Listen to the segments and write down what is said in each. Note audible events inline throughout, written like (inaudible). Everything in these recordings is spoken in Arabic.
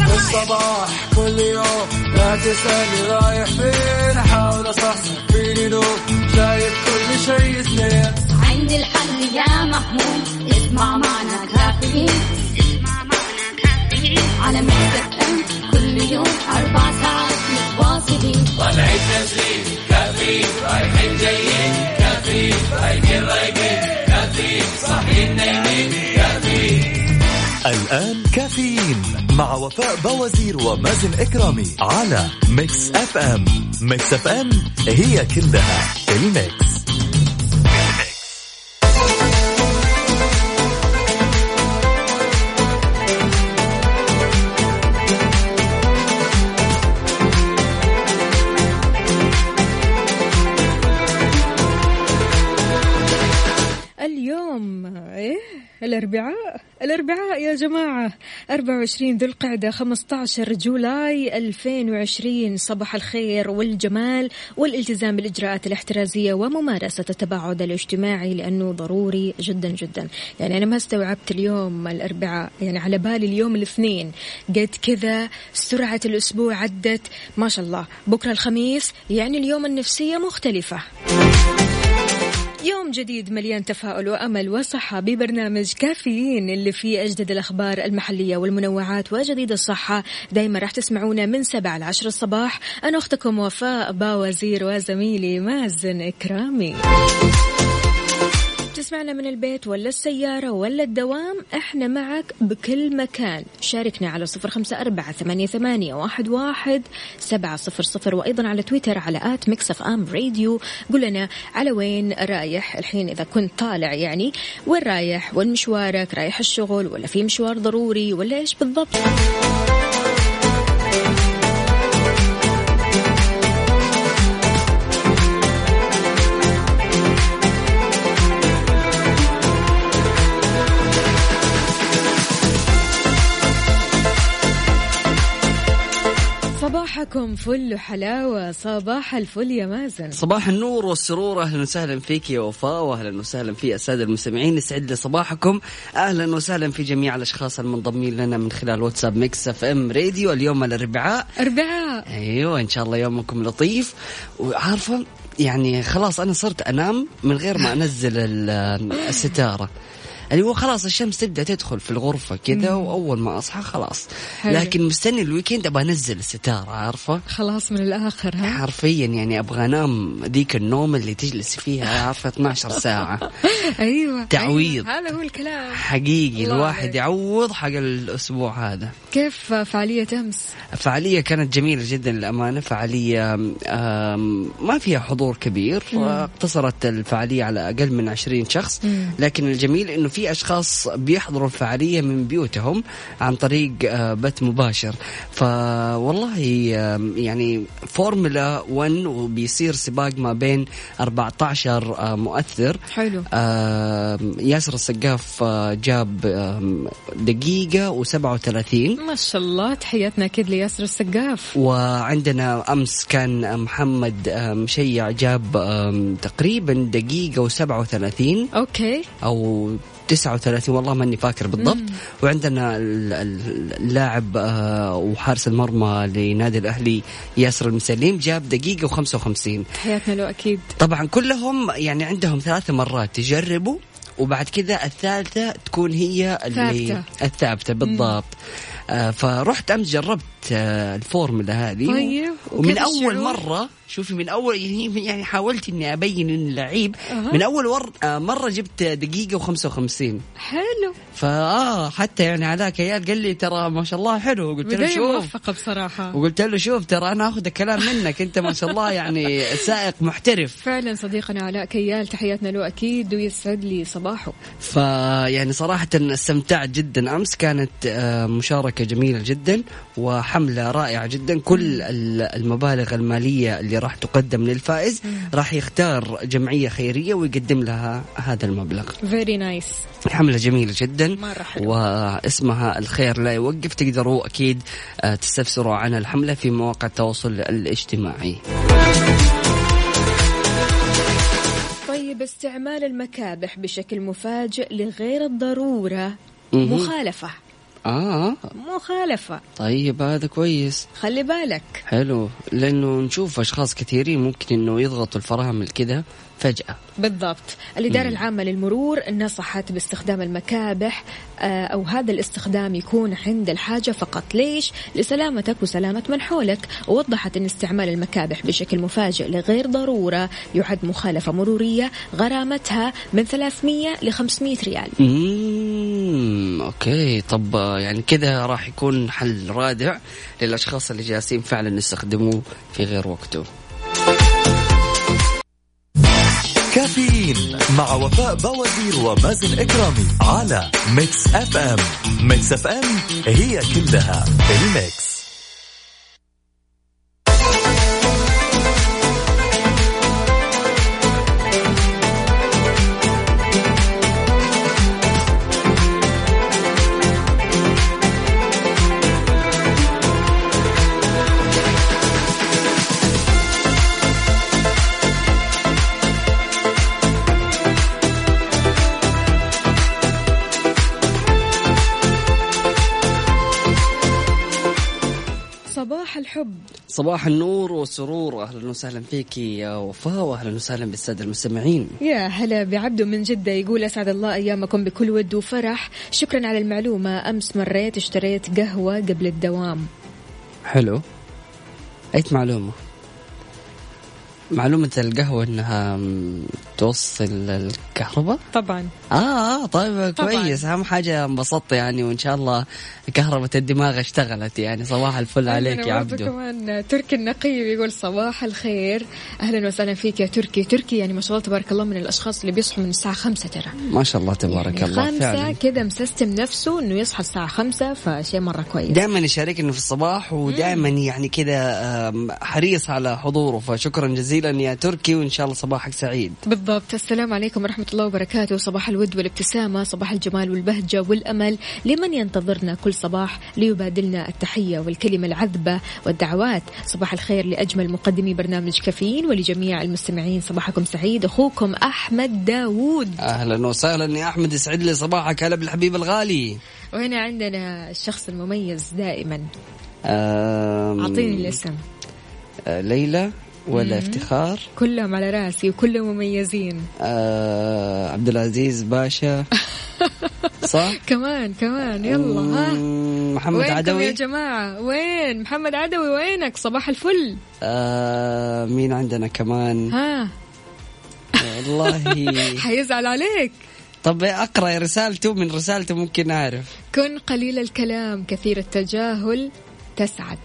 الصباح كل يوم لا تسألني رايح فين أحاول أصحصح فيني لو شايف كل شيء سنين عندي الحل يا محمود اسمع معنا كافيين اسمع معنا كافيين على مكتب ام كل يوم اربع ساعات متواصلين طالعين نازلين كافيين رايحين جايين كافيين رايقين رايقين كافيين صاحيين نايمين كافيين الآن كافيين مع وفاء بوازير ومازن إكرامي على ميكس أف أم ميكس أف أم هي كلها في الميكس اليوم ايه الاربعاء الاربعاء يا جماعه 24 ذو القعده 15 جولاي 2020 صباح الخير والجمال والالتزام بالاجراءات الاحترازيه وممارسه التباعد الاجتماعي لانه ضروري جدا جدا يعني انا ما استوعبت اليوم الاربعاء يعني على بالي اليوم الاثنين قد كذا سرعه الاسبوع عدت ما شاء الله بكره الخميس يعني اليوم النفسيه مختلفه يوم جديد مليان تفاؤل وامل وصحه ببرنامج كافيين اللي فيه اجدد الاخبار المحليه والمنوعات وجديد الصحه دائما راح تسمعونا من 7 ل 10 الصباح انا اختكم وفاء باوزير وزميلي مازن اكرامي تسمعنا من البيت ولا السيارة ولا الدوام احنا معك بكل مكان شاركنا على صفر خمسة أربعة ثمانية, ثمانية واحد, واحد سبعة صفر صفر وأيضا على تويتر على آت مكسف أم راديو قل لنا على وين رايح الحين إذا كنت طالع يعني وين رايح وين مشوارك رايح الشغل ولا في مشوار ضروري ولا إيش بالضبط صباحكم فل حلاوة صباح الفل يا مازن صباح النور والسرور اهلا وسهلا فيك يا وفاء واهلا وسهلا في الساده المستمعين يسعد لي صباحكم اهلا وسهلا في جميع الاشخاص المنضمين لنا من خلال واتساب ميكس اف ام راديو اليوم الاربعاء أربعاء ايوه ان شاء الله يومكم لطيف وعارفه يعني خلاص انا صرت انام من غير ما انزل ال- الستاره اللي هو خلاص الشمس تبدا تدخل في الغرفه كذا واول ما اصحى خلاص حلو. لكن مستني الويكند ابغى انزل الستاره عارفه خلاص من الآخر ها حرفيا يعني ابغى انام ذيك النوم اللي تجلس فيها عارفه 12 ساعه أيوة تعويض. أيوة. هذا هو الكلام حقيقي الله الواحد عليك. يعوض حق الاسبوع هذا كيف فعالية أمس فعاليه كانت جميله جدا للامانه فعاليه آم، ما فيها حضور كبير اقتصرت الفعاليه على اقل من 20 شخص لكن الجميل انه في اشخاص بيحضروا الفعاليه من بيوتهم عن طريق آه، بث مباشر فوالله آم، يعني فورمولا 1 وبيصير سباق ما بين 14 آه، مؤثر حلو آم، ياسر السقاف آه، جاب آم، دقيقة و37 ما شاء الله تحياتنا أكيد لياسر السقاف وعندنا أمس كان محمد آم، مشيع جاب آم، تقريبا دقيقة و37 أوكي أو 39 والله ماني فاكر بالضبط وعندنا ال- ال- اللاعب آه، وحارس المرمى لنادي الأهلي ياسر المسليم جاب دقيقة و55 تحياتنا له أكيد طبعا كلهم يعني عندهم ثلاث مرات يجربوا وبعد كذا الثالثة تكون هي اللي ثابتة. الثابتة بالضبط آه فرحت أمس جربت آه الفورمولا هذه طيب، و- وكيف ومن أول الشعور؟ مرة شوفي من أول يعني يعني حاولت إني أبين إني لعيب أها. من أول ور آه مرة جبت دقيقة وخمسة وخمسين حلو فآه حتى يعني علاك عيال قال لي ترى ما شاء الله حلو قلت له بداية شوف موفقة بصراحة وقلت له شوف ترى أنا أخذ الكلام منك أنت ما شاء الله يعني سائق محترف فعلا صديقنا علاء كيال تحياتنا له أكيد ويسعد لي صباحه فيعني يعني صراحة استمتعت جدا أمس كانت آه، مشاركة جميلة جدا وحملة رائعة جدا كل ال- المبالغ المالية اللي راح تقدم للفائز راح يختار جمعية خيرية ويقدم لها هذا المبلغ فيري نايس حملة جميلة جدا مرة حلوة. واسمها الخير لا يوقف تقدروا أكيد آه، تستفسروا عن الحملة في مواقع التواصل الاجتماعي طيب استعمال المكابح بشكل مفاجئ لغير الضرورة مهم. مخالفة اه مخالفة طيب هذا كويس خلي بالك حلو لانه نشوف اشخاص كثيرين ممكن انه يضغطوا الفرامل كذا فجاه بالضبط الإدارة العامة للمرور نصحت باستخدام المكابح آه، أو هذا الاستخدام يكون عند الحاجة فقط ليش؟ لسلامتك وسلامة من حولك ووضحت أن استعمال المكابح بشكل مفاجئ لغير ضرورة يعد مخالفة مرورية غرامتها من 300 ل 500 ريال امم اوكي طب آه، يعني كذا راح يكون حل رادع للاشخاص اللي جالسين فعلا يستخدموه في غير وقته كافيين مع وفاء بوازير ومازن اكرامي على ميكس اف ام ميكس اف ام هي كلها الميكس صباح الحب صباح النور والسرور اهلا وسهلا فيك يا وفاء واهلا وسهلا بالساده المستمعين يا هلا بعبده من جدة يقول أسعد الله أيامكم بكل ود وفرح شكرا على المعلومة أمس مريت اشتريت قهوة قبل الدوام حلو ايت معلومه معلومة القهوة انها م، توصل الكهرباء؟ طبعا اه طيب طبعاً. كويس اهم حاجة انبسطت يعني وان شاء الله كهرباء الدماغ اشتغلت يعني صباح الفل عليك يا عندنا برضو عبدو كمان تركي النقي بيقول صباح الخير اهلا وسهلا فيك يا تركي تركي يعني ما شاء الله تبارك الله من الاشخاص اللي بيصحوا من الساعه خمسة ترى ما شاء الله تبارك يعني الله خمسة فعلا كذا مسستم نفسه انه يصحى الساعه خمسة فشيء مره كويس دائما يشارك انه في الصباح ودائما يعني كذا آم، حريص على حضوره فشكرا جزيلا يا تركي وان شاء الله صباحك سعيد بالضبط السلام عليكم ورحمة الله وبركاته صباح الود والابتسامة صباح الجمال والبهجة والأمل لمن ينتظرنا كل صباح ليبادلنا التحية والكلمة العذبة والدعوات صباح الخير لأجمل مقدمي برنامج كافيين ولجميع المستمعين صباحكم سعيد أخوكم أحمد داوود اهلا وسهلا يا احمد يسعد لي صباحك هلا بالحبيب الغالي وهنا عندنا الشخص المميز دائما آم، أعطيني الاسم آه، ليلى ولا افتخار كلهم على راسي وكلهم مميزين آه عبد (laughs) العزيز باشا صح كمان كمان يلا ها مم، محمد وينكم يا عدوي جماعة وين محمد عدوي وينك صباح الفل آه مين عندنا كمان ها والله (laughs) حيزعل عليك طب اقرا رسالته من رسالته ممكن اعرف كن قليل الكلام كثير التجاهل (laughs) تسعد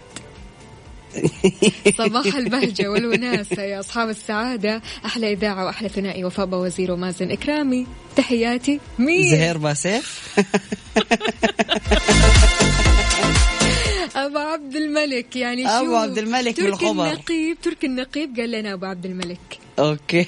صباح البهجة والوناسة يا أصحاب السعادة أحلى إذاعة وأحلى ثنائي وفاء وزير ومازن إكرامي تحياتي مين زهير باسيف أبو عبد الملك يعني شو أبو عبد الملك تركي بالخبر. النقيب تركي النقيب قال لنا أبو عبد الملك اوكي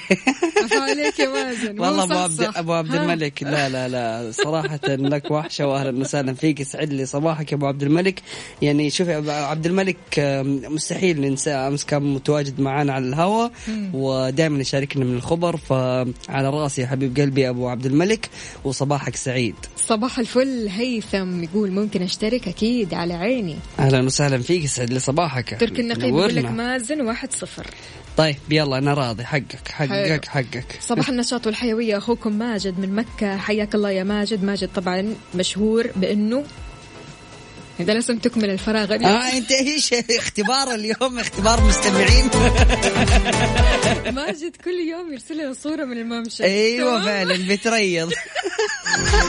عفا عليك يا مازن مو والله ابو عبد مصحصح. ابو عبد ها. الملك لا لا لا صراحه لك وحشه واهلا وسهلا فيك يسعد لي صباحك يا ابو عبد الملك يعني شوف يا أبو عبد الملك آم، مستحيل ننسى امس كان متواجد معنا على الهواء ودائما يشاركنا من الخبر فعلى راسي يا حبيب قلبي ابو عبد الملك وصباحك سعيد صباح الفل هيثم يقول ممكن أشترك أكيد على عيني اهلا وسهلا فيك يسعد لي صباحك تركي النقيب يقول لك نورنا. مازن واحد صفر طيب يلا انا راضي حقك حقك حلو. حقك صباح النشاط والحيوية أخوكم ماجد من مكة حياك الله يا ماجد ماجد طبعا مشهور بأنه إذا لازم تكمل الفراغ اه انت ايش اختبار اليوم اختبار مستمعين ماجد كل يوم يرسل لنا صورة من الممشى ايوه تمام؟ فعلا بتريض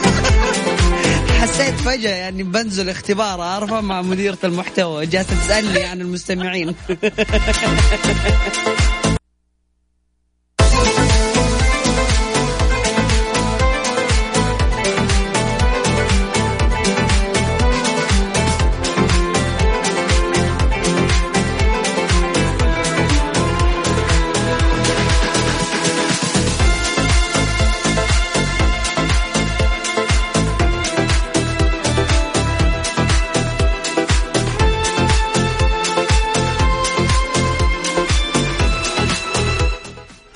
(laughs) حسيت فجأة يعني بنزل اختبار عارفة مع مديرة المحتوى جالسة تسألني عن المستمعين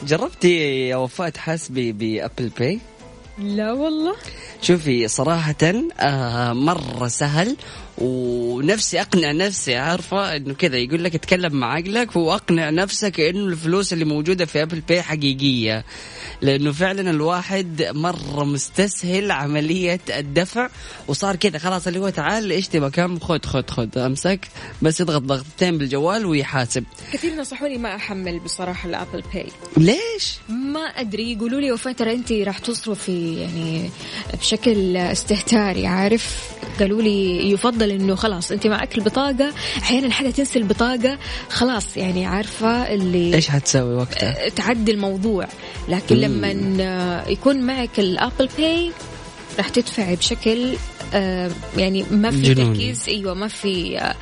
جربتي يا وفاء تحاسبي بأبل باي لا والله شوفي صراحة آه مرة سهل ونفسي اقنع نفسي عارفه انه كذا يقول لك اتكلم مع عقلك واقنع نفسك انه الفلوس اللي موجوده في ابل باي حقيقيه لانه فعلا الواحد مره مستسهل عمليه الدفع وصار كذا خلاص اللي هو تعال ايش تبغى كم خد خد خد امسك بس يضغط ضغطتين بالجوال ويحاسب كثير نصحوني ما احمل بصراحه الابل باي ليش؟ ما ادري يقولوا لي وفاء ترى انت راح تصرفي يعني بشكل استهتاري عارف قالوا لي يفضل انه خلاص انت معك البطاقه احيانا حدا تنسى البطاقه خلاص يعني عارفه اللي ايش حتسوي وقتها؟ أه، تعدي الموضوع لكن لما آه، يكون معك الابل باي راح تدفعي بشكل آه، يعني ما في جنوني. تركيز ايوه ما في آه،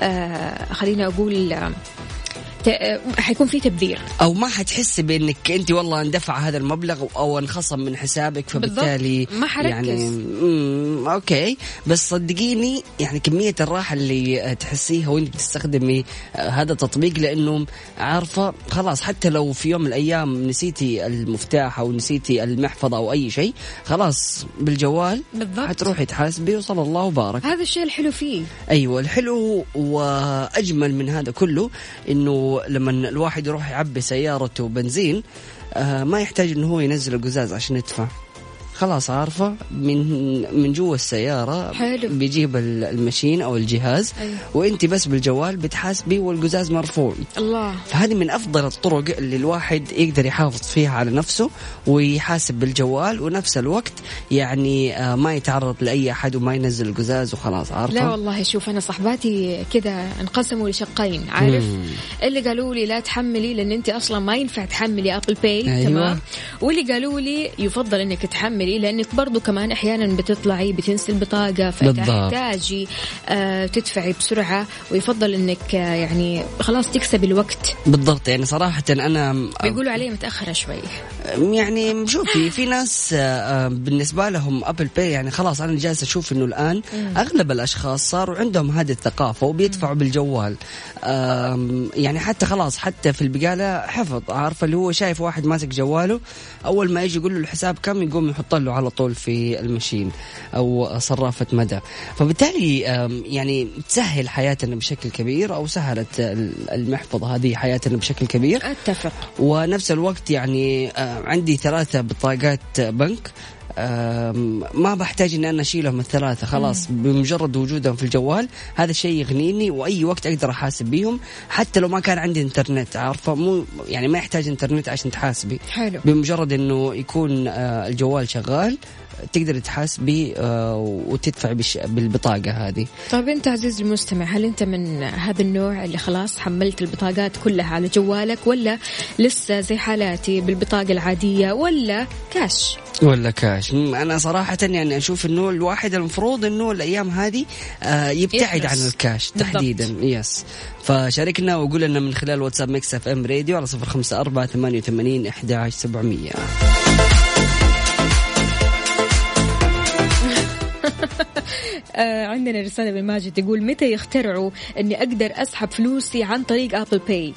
آه، خليني اقول آه، ت- آه، حيكون في تبذير او ما حتحسي بانك انت والله اندفع هذا المبلغ او انخصم من حسابك فبالتالي بالضبط. ما حركز. يعني مم، اوكي بس صدقيني يعني كميه الراحه اللي تحسيها وانت بتستخدمي هذا التطبيق لانه عارفه خلاص حتى لو في يوم من الايام نسيتي المفتاح او نسيتي المحفظه او اي شيء خلاص بالجوال بالضبط. حتروحي تحاسبي وصلى الله وبارك هذا الشيء الحلو فيه ايوه الحلو واجمل من هذا كله انه لما الواحد يروح يعبي سيارته بنزين آه ما يحتاج انه هو ينزل القزاز عشان يدفع خلاص عارفه من من جوا السياره حلو. بيجيب ال- المشين او الجهاز أيوة. وانت بس بالجوال بتحاسبي والقزاز مرفوع الله فهذه من افضل الطرق اللي الواحد يقدر يحافظ فيها على نفسه ويحاسب بالجوال ونفس الوقت يعني آه، ما يتعرض لاي احد وما ينزل القزاز وخلاص عارفه لا والله شوف انا صحباتي كذا انقسموا لشقين عارف اللي قالوا لي لا تحملي لان انت اصلا ما ينفع تحملي ابل باي أيوة. تمام واللي قالوا لي يفضل انك تحملي لانك برضو كمان احيانا بتطلعي بتنسي البطاقه بالضبط. فتحتاجي آه تدفعي بسرعه ويفضل انك آه يعني خلاص تكسبي الوقت بالضبط يعني صراحة أنا بيقولوا علي متاخره شوي يعني شوفي في ناس آه، بالنسبة لهم أبل باي يعني خلاص أنا جالس أشوف إنه الآن أغلب الأشخاص صاروا عندهم هذه الثقافة وبيدفعوا بالجوال آم، يعني حتى خلاص حتى في البقالة حفظ عارفة اللي هو شايف واحد ماسك جواله أول ما يجي يقول له الحساب كم يقوم يحط له على طول في المشين أو صرافة مدى فبالتالي آم، يعني تسهل حياتنا بشكل كبير أو سهلت ال- المحفظة هذه حياتنا بشكل كبير اتفق ونفس الوقت يعني آه، عندي ثلاثة بطاقات بنك آم، ما بحتاج ان انا اشيلهم الثلاثه خلاص بمجرد وجودهم في الجوال هذا الشيء يغنيني واي وقت اقدر احاسب بيهم حتى لو ما كان عندي انترنت عارفه مو يعني ما يحتاج انترنت عشان تحاسبي حلو بمجرد انه يكون آه، الجوال شغال تقدري تحاسبي آه، وتدفعي بالش- بالبطاقه هذه طيب انت عزيزي المستمع هل انت من هذا النوع اللي خلاص حملت البطاقات كلها على جوالك ولا لسه زي حالاتي بالبطاقه العاديه ولا كاش ولا كاش مم، انا صراحه يعني اشوف انه الواحد المفروض انه الايام هذه آه، يبتعد يخلص. عن الكاش بالضبط. تحديدا يس فشاركنا وقول لنا من خلال واتساب ميكس اف ام راديو على 054 88 11 700 آه عندنا رساله من ماجد تقول متى يخترعوا اني اقدر اسحب فلوسي عن طريق ابل باي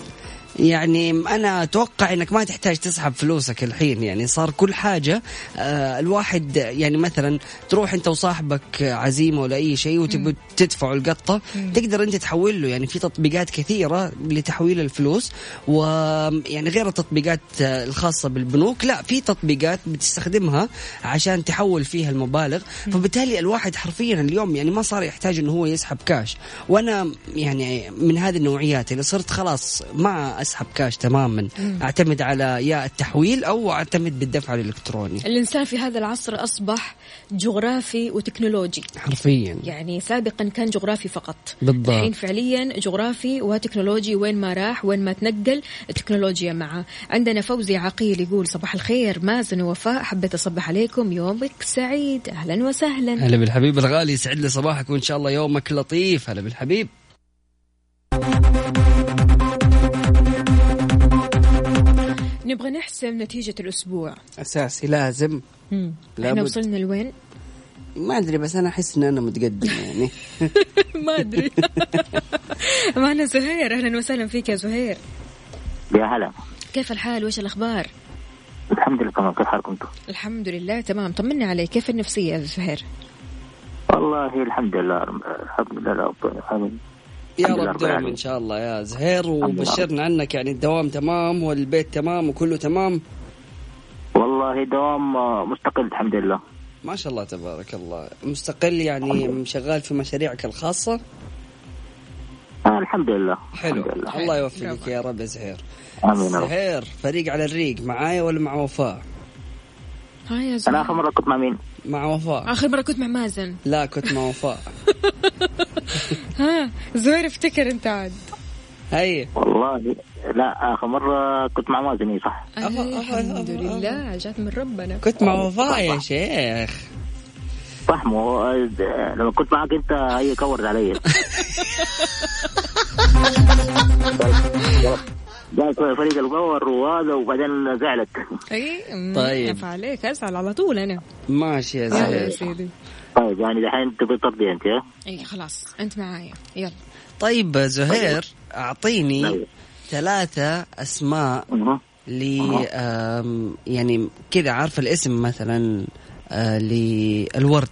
يعني انا اتوقع انك ما تحتاج تسحب فلوسك الحين يعني صار كل حاجه آه، الواحد يعني مثلا تروح انت وصاحبك عزيمه ولا اي شيء وتبي تدفعوا القطه تقدر انت تحول له يعني في تطبيقات كثيره لتحويل الفلوس ويعني غير التطبيقات آه، الخاصه بالبنوك لا في تطبيقات بتستخدمها عشان تحول فيها المبالغ فبالتالي الواحد حرفيا اليوم يعني ما صار يحتاج انه هو يسحب كاش وانا يعني من هذه النوعيات اللي صرت خلاص ما اسحب كاش تماما اعتمد على يا التحويل او اعتمد بالدفع الالكتروني الانسان في هذا العصر اصبح جغرافي وتكنولوجي حرفيا يعني سابقا كان جغرافي فقط بالضبط. الحين فعليا جغرافي وتكنولوجي وين ما راح وين ما تنقل التكنولوجيا معه عندنا فوزي عقيل يقول صباح الخير مازن ووفاء حبيت اصبح عليكم يومك سعيد اهلا وسهلا هلا بالحبيب الغالي يسعد لي صباحك وان شاء الله يومك لطيف هلا بالحبيب نبغى نحسم نتيجه الاسبوع اساسي لازم مم. لابد. احنا وصلنا لوين ما ادري بس انا احس ان انا متقدم يعني (laughs) (laughs) ما (laughs) ادري معنا زهير اهلا وسهلا فيك يا زهير يا هلا كيف الحال وايش الاخبار الحمد الحمد لله تمام كيف حالكم انتم؟ الحمد لله تمام طمنا عليك كيف النفسية يا زهير والله الحمد لله رب- الحمد لله رب العالمين يا الحمد لله رب رب دوام العالمين. ان شاء الله يا زهير لله. وبشرنا عنك يعني الدوام تمام والبيت تمام وكله تمام والله دوام آه، مستقل الحمد لله ما شاء الله تبارك الله مستقل يعني شغال في مشاريعك الخاصة آه الحمد لله حلو الحمد لله الله يوفقك يا رب يا زهير امين يا رب زهير فريق على الريق معايا ولا مع وفاء ها يا انا زهير اخر مره كنت مع مين؟ مع وفاء آخر مرة كنت مع مازن لا كنت مع وفاء ها زهير افتكر أنت عاد هي والله لا اخر مره كنت مع مازن إي صح أي، الحمد لله جات من ربنا كنت مع وفاء يا شيخ صح مو آه، لما كنت معك انت هي كورت علي جاء فريق الباور وهذا وبعدين زعلت اي أمم، طيب. نفع عليك ازعل على طول انا ماشي يا يلا يا زهير سيدي طيب يعني دحين تبي ترضي انت ها؟ اي خلاص انت معايا يلا طيب زهير اعطيني طيب. ثلاثة اسماء مهم. لي آم، يعني كذا عارفه الاسم مثلا آه، للورد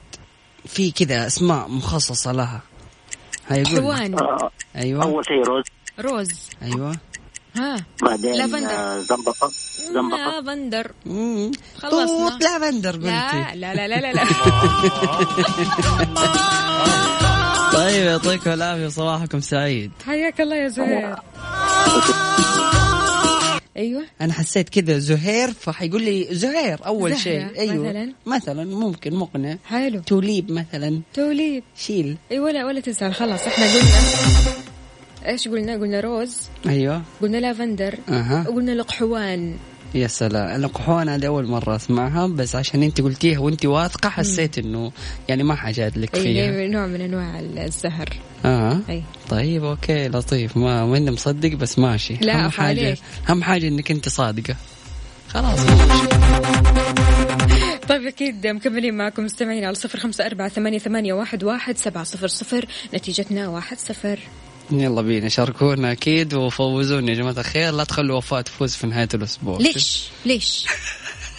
في كذا اسماء مخصصه لها هيقول حلوان آه، ايوه اول شيء روز روز ايوه ها بعدين لافندر. آه، زنبقه Mm, زنبقه لافندر مم. خلصنا. توت لا لافندر بنتي لا لا لا لا, لا. طيب يعطيكم العافيه صباحكم سعيد حياك الله يا زهير ايوه انا حسيت كذا زهير فحيقول لي زهير اول زهرة شيء ايوه مثلاً. مثلا ممكن مقنع حلو توليب مثلا توليب شيل اي ولا ولا تزعل خلاص احنا قلنا ايش قلنا قلنا روز ايوه قلنا لافندر اها وقلنا لقحوان يا سلام القحوان هذه أول مرة أسمعها بس عشان أنت قلتيها وأنت واثقة حسيت إنه يعني ما حاجات لك فيها اي نوع من انواع الزهر آه اي طيب أوكي لطيف ما ما إني مصدق بس ماشي لا، أهم عفا حاجة عليك. أهم حاجة إنك أنت صادقة خلاص طيب اكيد مكملين معكم مستمعين على صفر خمسه اربعه ثمانيه ثمانيه واحد واحد سبعه صفر صفر نتيجتنا واحد صفر يلا بينا شاركونا أكيد وفوزوني يا جماعة الخير لا تخلوا وفاء تفوز في نهاية الأسبوع ليش ليش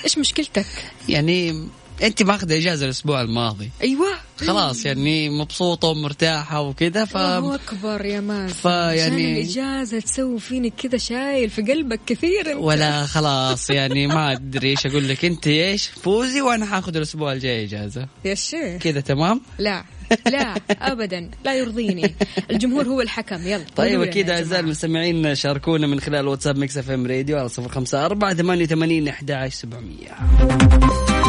ايش مشكلتك يعني أنت ماخذة إجازة الأسبوع الماضي ايوه خلاص يعني مبسوطة ومرتاحة وكذا ف الله اكبر يا مازن فيعني- عشان الاجازه تسوي فيني كذا شايل في قلبك كثير انت ولا خلاص يعني ما ادري ايش اقول لك انت ايش فوزي وانا حاخذ الاسبوع الجاي اجازه يا شيخ كذا تمام لا لا ابدا لا يرضيني الجمهور هو الحكم يلا طيب قولوا لنا اكيد يا اعزائي جماعة. المستمعين شاركونا من خلال واتساب ميكس اف ام راديو على 054 88 11700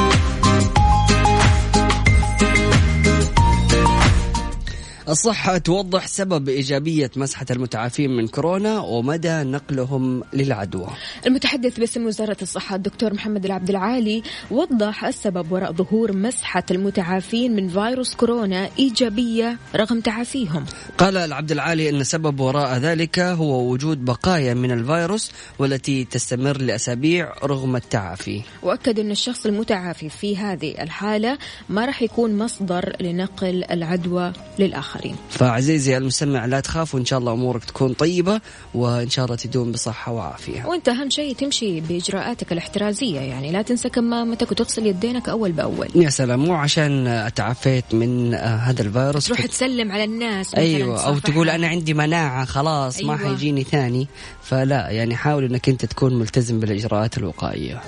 الصحة توضح سبب إيجابية مسحة المتعافين من كورونا ومدى نقلهم للعدوى المتحدث باسم وزارة الصحة الدكتور محمد العبد العالي وضح السبب وراء ظهور مسحة المتعافين من فيروس كورونا إيجابية رغم تعافيهم قال العبد العالي ان سبب وراء ذلك هو وجود بقايا من الفيروس والتي تستمر لاسابيع رغم التعافي. وأكد أن الشخص المتعافي في هذه الحالة ما راح يكون مصدر لنقل العدوى للآخرين فعزيزي المستمع لا تخاف وان شاء الله امورك تكون طيبه وان شاء الله تدوم بصحه وعافيه. وانت أهم شيء تمشي بإجراءاتك الاحترازية يعني لا تنسى كمامتك وتغسل يدينك أول بأول يا سلام مو عشان تعافيت من آه، هذا الفيروس تروح تسلم على الناس مثلاً، ايوه او تصافح تقول انا عندي مناعه خلاص ما أيوة. حيجيني ثاني فلا يعني حاول انك انت تكون ملتزم بالاجراءات الوقائيه.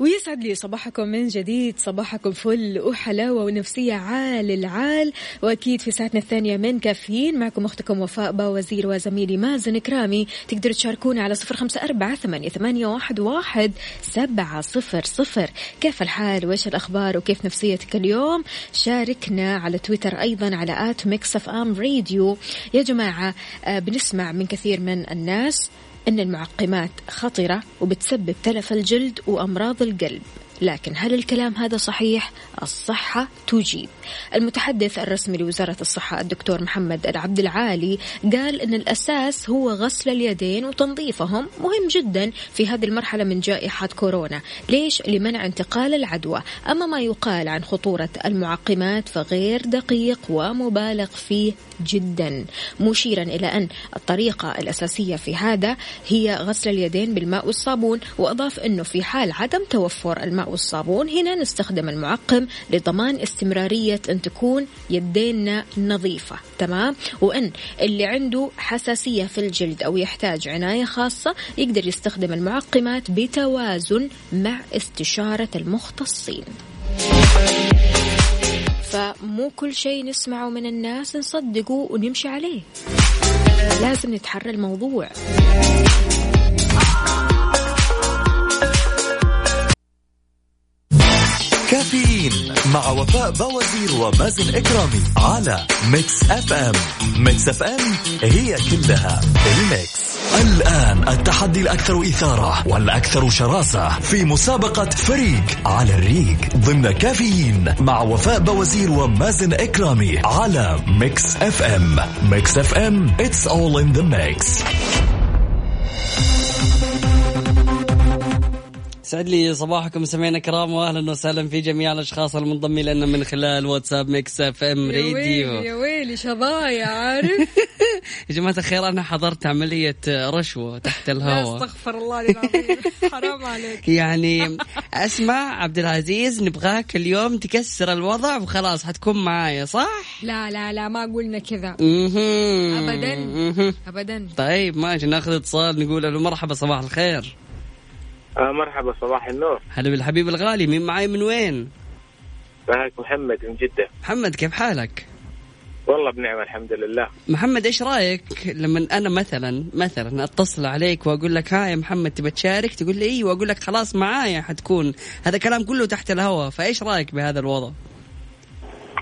ويسعد لي صباحكم من جديد صباحكم فل وحلاوة ونفسية عال العال وأكيد في ساعتنا الثانية من كافيين معكم أختكم وفاء باوزير وزميلي مازن كرامي تقدروا تشاركونا على صفر خمسة أربعة ثمانية واحد واحد سبعة صفر صفر كيف الحال وإيش الأخبار وكيف نفسيتك اليوم شاركنا على تويتر أيضا على آت ميكس أف أم راديو يا جماعة آه، بنسمع من كثير من الناس أن المعقمات خطرة وبتسبب تلف الجلد وأمراض القلب لكن هل الكلام هذا صحيح؟ الصحة تجيب. المتحدث الرسمي لوزارة الصحة الدكتور محمد العبد العالي قال أن الأساس هو غسل اليدين وتنظيفهم مهم جدا في هذه المرحلة من جائحة كورونا. ليش؟ لمنع انتقال العدوى. أما ما يقال عن خطورة المعقمات فغير دقيق ومبالغ فيه جدا مشيرا إلى أن الطريقة الأساسية في هذا هي غسل اليدين بالماء والصابون وأضاف أنه في حال عدم توفر الماء والصابون هنا نستخدم المعقم لضمان استمرارية أن تكون يدينا نظيفة تمام وأن اللي عنده حساسية في الجلد أو يحتاج عناية خاصة يقدر يستخدم المعقمات بتوازن مع استشارة المختصين فمو كل شيء نسمعه من الناس نصدقه ونمشي عليه لازم نتحرى الموضوع كافيين مع وفاء بوازير ومازن اكرامي على ميكس اف ام ميكس اف ام هي كلها الميكس الان التحدي الاكثر اثاره والاكثر شراسه في مسابقه فريق على الريق ضمن كافيين مع وفاء بوازير ومازن اكرامي على ميكس اف ام ميكس اف ام اتس اول ان ذا ميكس سعد لي صباحكم مستمعينا الكرام واهلا وسهلا في جميع الاشخاص المنضمين لنا من خلال واتساب ميكس اف ام يا ويلي يا راديو ويلي شظايا عارف يا جماعه الخير انا حضرت عمليه رشوه تحت لا الهواء استغفر الله العظيم (laughs) حرام عليك يعني اسمع عبد العزيز نبغاك اليوم تكسر الوضع وخلاص حتكون معايا صح؟ لا لا لا ما قلنا كذا مهم. أبداً. مهم. ابدا طيب ماشي ناخذ اتصال نقول له مرحبا صباح الخير آه مرحبا صباح النور هلا بالحبيب الغالي مين معاي من وين؟ معك محمد من جدة محمد كيف حالك؟ والله بنعمة الحمد لله محمد ايش رايك لما انا مثلا مثلا اتصل عليك واقول لك ها يا محمد تبى تشارك تقول لي ايوه واقول لك خلاص معايا حتكون هذا كلام كله تحت الهواء فايش رايك بهذا الوضع؟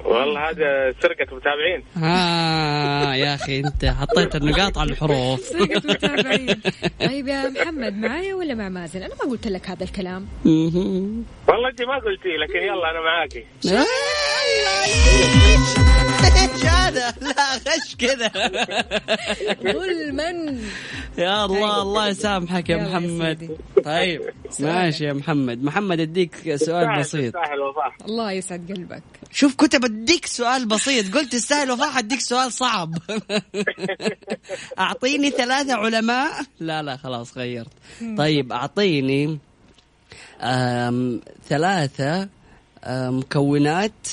والله هذا سرقة متابعين ها يا اخي انت حطيت النقاط على الحروف سرقة متابعين (laughs) طيب يا محمد معايا ولا مع مازن انا ما قلت لك هذا الكلام مهم. والله انت ما قلتي لكن يلا انا معاكي آه، ايش هذا؟ لا غش كذا ظلما يا الله الله يسامحك طيب. يا يلا يا محمد سيدي. طيب ماشي يا محمد محمد اديك طيب، سؤال بسيط ساحل وفاح الله يسعد قلبك شوف كنت بديك سؤال بسيط قلت السهل وفاح اديك سؤال صعب (laughs) اعطيني ثلاثة علماء لا لا خلاص غيرت طيب اعطيني أم ثلاثة أم، مكونات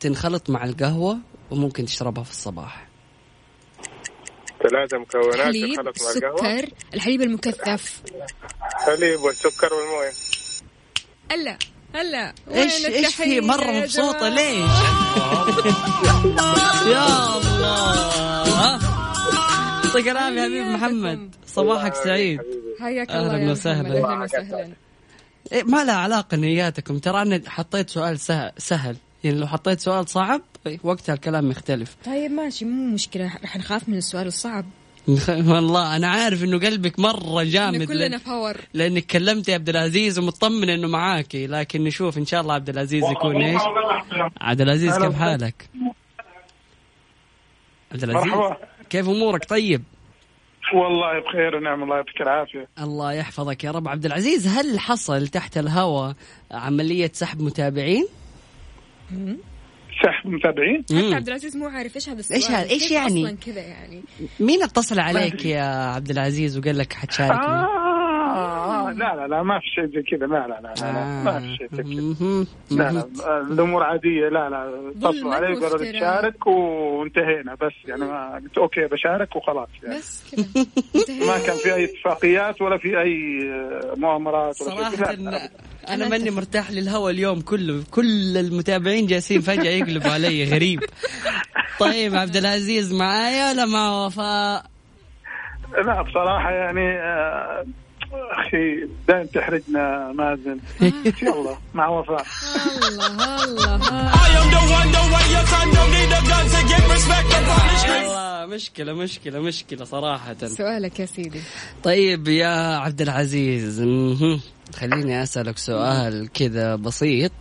تنخلط مع القهوة وممكن تشربها في الصباح ثلاثة مكونات حليب تخلط مع القهوة سكر الحليب المكثف حليب والسكر والموية هلا هلا ايش وين ايش في التحية مرة يا مبسوطة جماعة؟ ليش؟ (laughs) يا الله يعطيك العافية حبيب محمد صباحك سعيد حياك أهلاً الله يا وسهلاً. محمد، اهلا وسهلا إيه، ما لها علاقة نياتكم ترى أنا حطيت سؤال سهل, سهل. يعني لو حطيت سؤال صعب إيه، وقتها الكلام يختلف (laughs) طيب ماشي مو مشكلة رح نخاف من السؤال الصعب نخ- والله أنا عارف إنه قلبك مرة إحنا جامد كلنا لأن- في باور لأنك كلمت يا عبد العزيز ومطمن إنه معاكي لكن نشوف إن شاء الله عبد العزيز يكون إيش عبد العزيز كيف حالك؟ عبد العزيز مرحبا. كيف أمورك طيب؟ والله بخير ونعم الله يعطيك العافيه الله يحفظك يا رب عبد العزيز هل حصل تحت الهوى عملية سحب متابعين؟ سحب متابعين حتى مم. عبد العزيز مو عارف ايش هذا السؤال إيش هذا؟ إيش كيف يعني؟ اصلا كذا يعني مين اتصل عليك يا عبد العزيز وقال لك حتشاركني؟ آه لا لا لا ما في شيء زي كذا لا لا لا, لا, آه. لا ما في شيء زي كذا آه. مهم. لا مهم. لا الامور عاديه لا لا اتصلوا علي قالوا لي واختراع. تشارك وانتهينا بس يعني ما قلت اوكي بشارك وخلاص يعني بس كذا انتهينا. (laughs) ما كان في اي اتفاقيات ولا في اي مؤامرات ولا شيء صراحة كذا. لا، لا. أنا ماني مرتاح للهوى اليوم كله كل المتابعين جالسين فجأة يقلبوا علي غريب طيب عبد العزيز معايا ولا مع وفاء؟ لا بصراحه يعني آه، اخي دائما تحرجنا مازن يلا مع وفاء الله الله I am the one, the way you can. Don't need a gun to get respect upon the street. يلا مشكلة مشكلة مشكلة صراحة سؤالك يا سيدي طيب يا عبد العزيز مهم. خليني أسألك سؤال كذا بسيط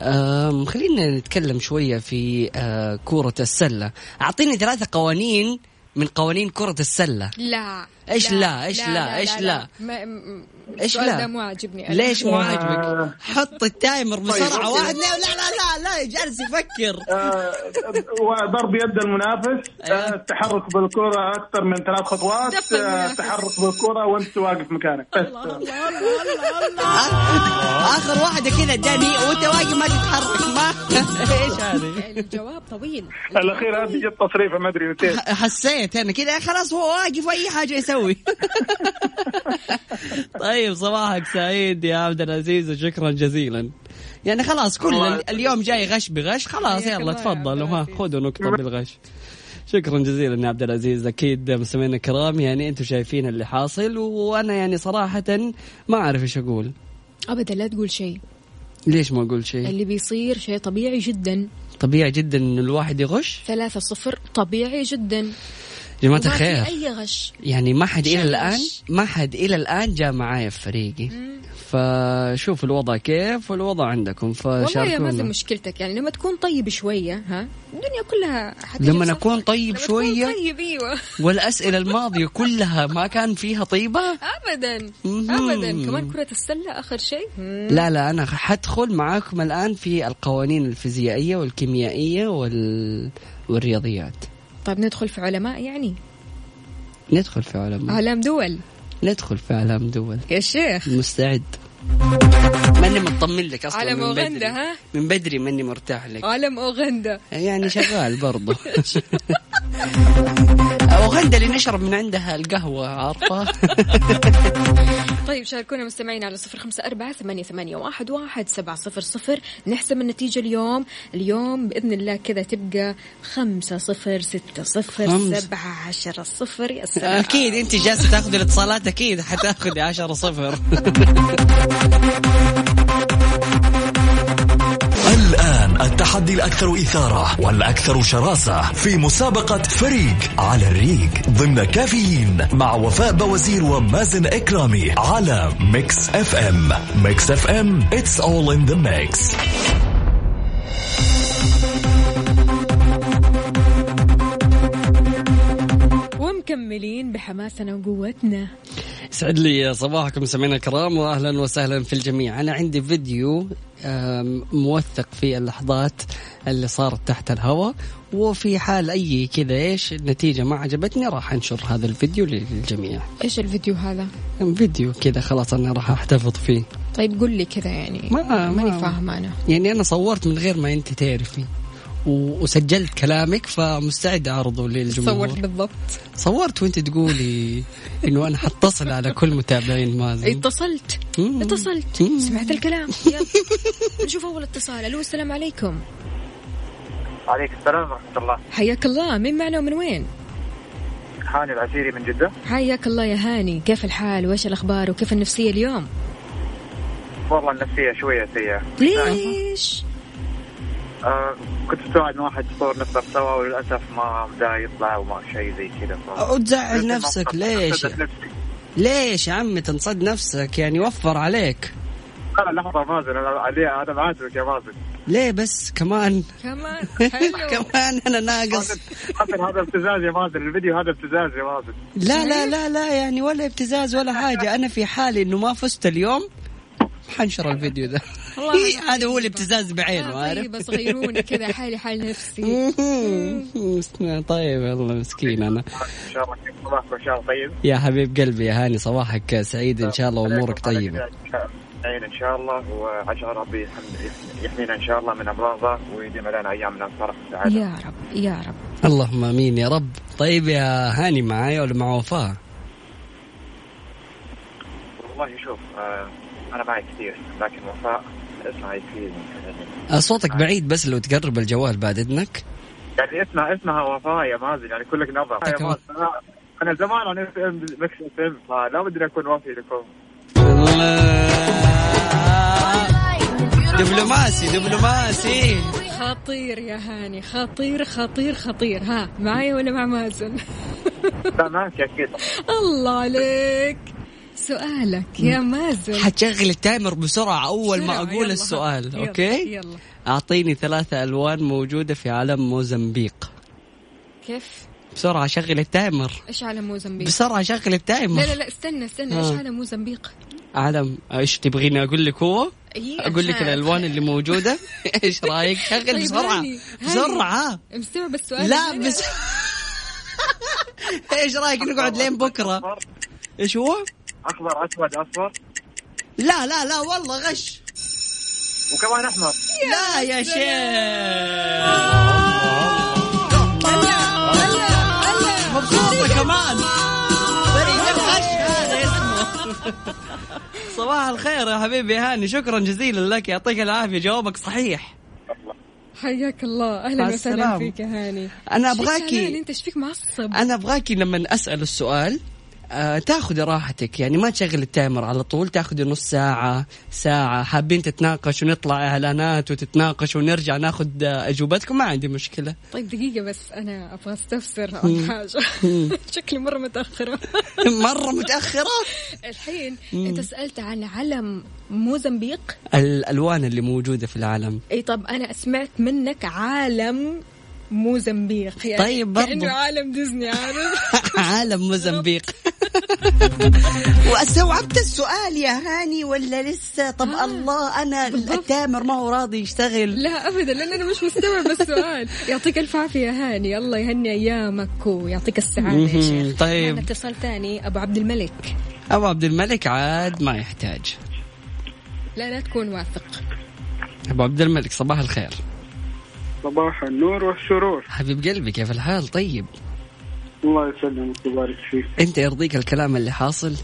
أم، خلينا نتكلم شوية في آه، كرة السلة أعطيني ثلاثة قوانين من قوانين كرة السلة لا إيش لا؟ إيش لا؟ إيش لا؟ ما- م- إيش السؤال لا؟ ده مو عاجبني أنا. ليش مو آه. عاجبك؟ حط التايمر بسرعة واحد اثنين، لا لا لا لا جالس يفكر آه، وضرب يد المنافس آه، التحرك بالكرة أكثر من ثلاث خطوات دفع آه، المنافس. التحرك بالكرة وأنت واقف مكانك بس آه. آخر واحدة كذا جاني وأنت واقف ما تتحرك ما إيش هذه؟ الجواب طويل الأخير هذه جت تصريفة ما أدري متى حسيت انا كذا خلاص هو واقف اي حاجه (laughs) يسوي طيب صباحك سعيد يا عبد العزيز وشكرا جزيلا يعني خلاص كل ال- اليوم جاي غش بغش خلاص حياك الله يلا يا عبد تفضلوا ها العزيز. خذوا نقطه بالغش شكرا جزيلا يا عبد العزيز اكيد مستمعينا الكرام يعني انتم شايفين اللي حاصل وانا يعني صراحه ما اعرف ايش اقول ابدا لا تقول شيء ليش ما اقول شيء اللي بيصير شيء طبيعي جدا طبيعي جدا ان الواحد يغش ثلاثة صفر طبيعي جدا جماعه وما في الخير اي غش يعني ما حد الى شغش. الان ما حد الى الان جاء معايا في فريقي فشوف الوضع كيف والوضع عندكم والله ما في فشاركونا مشكلتك يعني لما تكون طيب شوية ها الدنيا كلها حتجي لما بصفك. نكون طيب لما تكون شوية؟ طيب (laughs) ايوه والاسئله الماضيه كلها ما كان فيها طيبه ابدا مهم. ابدا كمان كرة السلة اخر شيء مم. لا لا انا حدخل معاكم الان في القوانين الفيزيائيه والكيميائيه وال... والرياضيات طيب ندخل في علماء يعني ندخل في عالم اعلام دول ندخل في عالم دول يا شيخ مستعد ماني مطمن لك اصلا عالم من أوغندا، بدري ها؟ من بدري ماني مرتاح لك عالم اوغندا يعني شغال برضو (laughs) اوغندا اللي نشرب من عندها القهوه (laughs) عارفه طيب شاركونا مستمعينا على صفر خمسة أربعة ثمانية, ثمانية واحد, واحد سبعة صفر صفر نحسم النتيجة اليوم اليوم بإذن الله كذا تبقى خمسة صفر ستة صفر خمسة. سبعة عشرة صفر يا سلام اكيد انت جالسه تاخذي الاتصالات اكيد حتاخذي 10 (laughs) صفر الآن التحدي الأكثر إثارة والأكثر شراسة في مسابقة فريق على الريق ضمن كافيين مع وفاء بوزير ومازن إكرامي على ميكس أف أم ميكس أف أم It's all in the mix ومكملين بحماسنا وقوتنا يسعد لي صباحكم سمعنا الكرام واهلا وسهلا في الجميع انا عندي فيديو آم، موثق في اللحظات اللي صارت تحت الهواء وفي حال اي كذا ايش النتيجه ما عجبتني راح انشر هذا الفيديو للجميع إيش الفيديو هذا فيديو كذا خلاص انا راح احتفظ فيه طيب قل لي كذا يعني ما- ماني ما- فاهمة أنا يعني انا صورت من غير ما انت تعرفي و- وسجلت كلامك فمستعد اعرضه للجمهور تصورت صورت, بالضبط صورت وانت تقولي انه انا حتصل على كل متابعين مازن اتصلت مم. اتصلت مم. سمعت الكلام يلا (laughs) نشوف أول اتصال ألو السلام عليكم عليك السلام ورحمة الله حياك الله مين معنا ومن وين هاني العسيري من جدة حياك الله يا هاني كيف الحال وايش الأخبار وكيف النفسية اليوم والله النفسية شوية سيئة ليش؟ آه كنت متوعد من واحد صور نفطر سوا وللأسف ما بدأ يطلع وما شيء زي كذا أو تزعل نفسك ليش ليش يا عمي تنصد نفسك يعني وفر عليك انا لحظه مازن انا علي انا بعاتبك يا (laughs) مازن ليه بس كمان كمان (laughs) كمان انا ناقص مازن، حسن هذا ابتزاز يا مازن الفيديو هذا ابتزاز يا مازن لا لا لا لا يعني ولا ابتزاز ولا حاجه انا في حالي انه ما فزت اليوم حنشر الفيديو ده والله (laughs) هذا هو الابتزاز بعينه آه، طيب عارف بس غيروني (laughs) كذا حالي حال نفسي طيب والله مسكين انا ان شاء الله كيف صباحكم ان شاء الله طيب يا حبيب قلبي يا هاني صباحك سعيد ان شاء الله وامورك عليكم طيبه وعلى جميع العين ان شاء الله وعسى ربي يحمد- يحمينا ان شاء الله من امراضه ويديم علينا ايامنا الفرح والسعاده يا رب يا رب اللهم امين يا رب طيب يا هاني معايا ولا مع وفاء والله شوف آه انا معي كثير لكن وفاء اسمع يكفيني أه، صوتك بعيد بس لو تقرب الجوال بعد اذنك يعني اسمها اسمها وفاء يا مازن يعني كلك نظر يا كمان. مازن أنا- انا زمان انا اف ام مكس اف ام فلا بدي اكون وفي لكم الله. دبلوماسي دبلوماسي خطير يا هاني خطير خطير خطير ها معايا ولا مع مازن لا معك اكيد الله عليك سؤالك يا مازن حتشغل التايمر بسرعة أول ما بسرعة، أقول يلا، السؤال يلا، أوكي يلا. أعطيني ثلاثة ألوان موجودة في علم موزمبيق كيف بسرعة شغل التايمر ايش على موزمبيق بسرعة شغل لا التايمر لا لا استنى استنى ايش آه. على موزمبيق علم ايش تبغيني اقول لك هو؟ إيه، اقول لك عشان- الالوان اللي (laughs) موجوده ايش رايك؟ شغل طيب بسرعه هاني، هاني. بسرعه مستوعب السؤال لا ولا؟ بس (laughs) ايش رايك نقعد لين بكره؟ اخضر ايش هو؟ اخضر اسود اصفر لا لا لا والله غش وكمان احمر لا يا شيخ مبسوطة كمان فريق الغش هذا اسمه (laughs) صباح الخير يا حبيبي هاني شكرا جزيلا لك يعطيك العافية جوابك صحيح حياك الله اهلا مع وسهلا السلامة. فيك يا هاني أنا شيك أبغاكي- هاني، انت ايش فيك معصب انا ابغاكي لما اسال السؤال آه، تاخذي راحتك يعني ما تشغل التايمر على طول تاخذي نص ساعة ساعة حابين تتناقش ونطلع اعلانات وتتناقش ونرجع ناخذ آه، اجوبتكم ما عندي مشكلة طيب دقيقة بس أنا أبغى أستفسر عن (laughs) حاجة شكلي مرة متأخرة (laughs) (laughs) مرة متأخرة الحين أنت سألت عن علم موزمبيق الالوان اللي موجودة في العالم (laughs) اي طب انا سمعت منك عالم موزمبيق يعني طيب برضو. كأنه عالم ديزني عارف (laughs) عالم (laughs) موزمبيق واستوعبت السؤال يا هاني ولا لسه طب الله انا التامر ما هو راضي يشتغل لا ابدا لان انا مش مستوعب السؤال (laughs) يعطيك الف عافيه يا هاني الله يهني ايامك ويعطيك السعاده يا شيخ طيب. معنا اتصال ثاني ابو عبد الملك ابو عبد الملك عاد ما يحتاج لا لا تكون واثق ابو عبد الملك صباح الخير صباح النور والسرور حبيب قلبي كيف الحال طيب الله يسلمك ويبارك فيك انت يرضيك الكلام اللي حاصل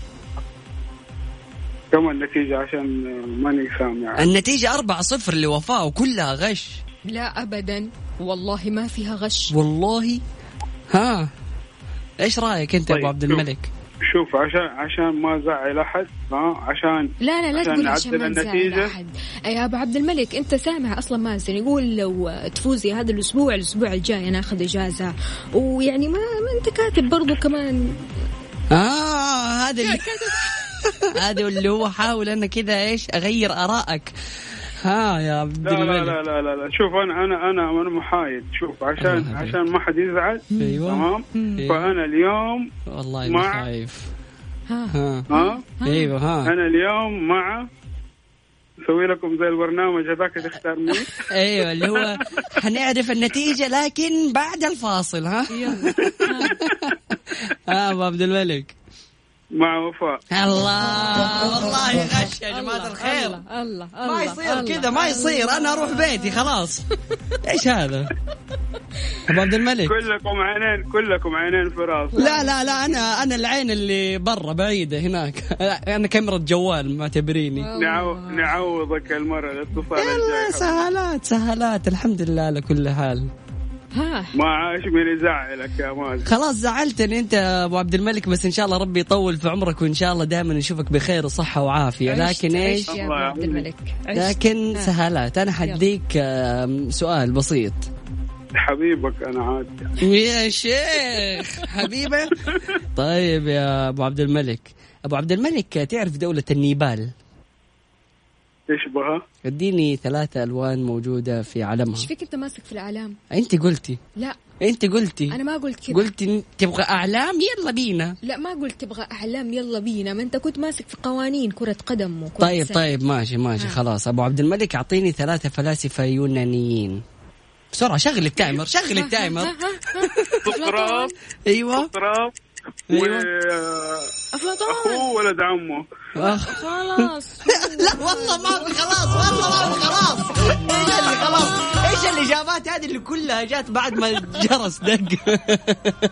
كم النتيجة عشان ماني يعني. سامع النتيجة أربعة صفر لوفاء وكلها غش لا ابدا والله ما فيها غش والله ها ايش رايك انت يا ابو طيب، عبد شوف. الملك شوف عشان عشان ما زعل أحد ها عشان لا لا لا عشان تقول نعدل عشان ما نزعل النتيجة. احد يا ابو عبد الملك انت سامع اصلا مازن يقول لو تفوزي هذا الاسبوع الاسبوع الجاي انا اخذ اجازه ويعني ما, ما انت كاتب برضو كمان اه هذا اللي (laughs) هذا اللي هو حاول انا كذا ايش اغير ارائك ها يا عبد لا لا الملك لا لا لا, لا. شوف أنا أنا أنا أنا محايد شوف الله عشان يهديك. عشان ما حد يزعل أيوة. تمام أيوة. فأنا اليوم والله مع- ما خايف ها. ها ها ايوه ها أنا اليوم مع أسوي لكم زي البرنامج هذاك تختار مين ايوه اللي هو حنعرف النتيجه لكن بعد الفاصل ها يلا ها ابو عبد الملك مع وفاء الله والله غش يا جماعه الخير الله الله ما يصير كذا ما يصير انا اروح بيتي خلاص ايش هذا ابو عبد الملك كلكم عينين كلكم عينين في راس لا لا لا انا انا العين اللي برا بعيده هناك (laughs) انا كاميرا جوال معتبريني نعو... نعوضك المرة الاتصال يلا الجاي سهالات سهالات الحمد لله على كل حال ها ما عاش من يزعلك يا مازن خلاص زعلتني انت يا ابو عبد الملك بس ان شاء الله ربي يطول في عمرك وان شاء الله دائما نشوفك بخير وصحه وعافيه عشت- لكن ايش عشت يا ابو الله عبد الملك عشت. لكن ها. سهالات انا حديك آم، سؤال بسيط حبيبك انا عاد يا شيخ حبيبه طيب يا ابو عبد الملك ابو عبد الملك تعرف دوله النيبال تشبهه اديني ثلاثة ألوان موجودة في علمها ايش فيك انت ماسك في الاعلام أنت قلتي لا أنت قلتي انا ما قلت كذا قلتي إن- تبغى أعلام يلا بينا لا ما قلت تبغى اعلام يلا بينا ما انت كنت ماسك في قوانين كره قدم وكره طيب سلة. طيب ماشي ماشي خلاص أبو عبد الملك أعطيني ثلاثة فلاسفة يونانيين بسرعة شغل التايمر شغل التايمر سقراط أيوه سقراط أيوه افلاطون واخوه ولد عمه آخ. خلاص (laughs) لا والله ما في خلاص والله ما في خلاص ايش اللي خلاص ايش الاجابات هذه اللي كلها جات بعد ما الجرس دق (laughs)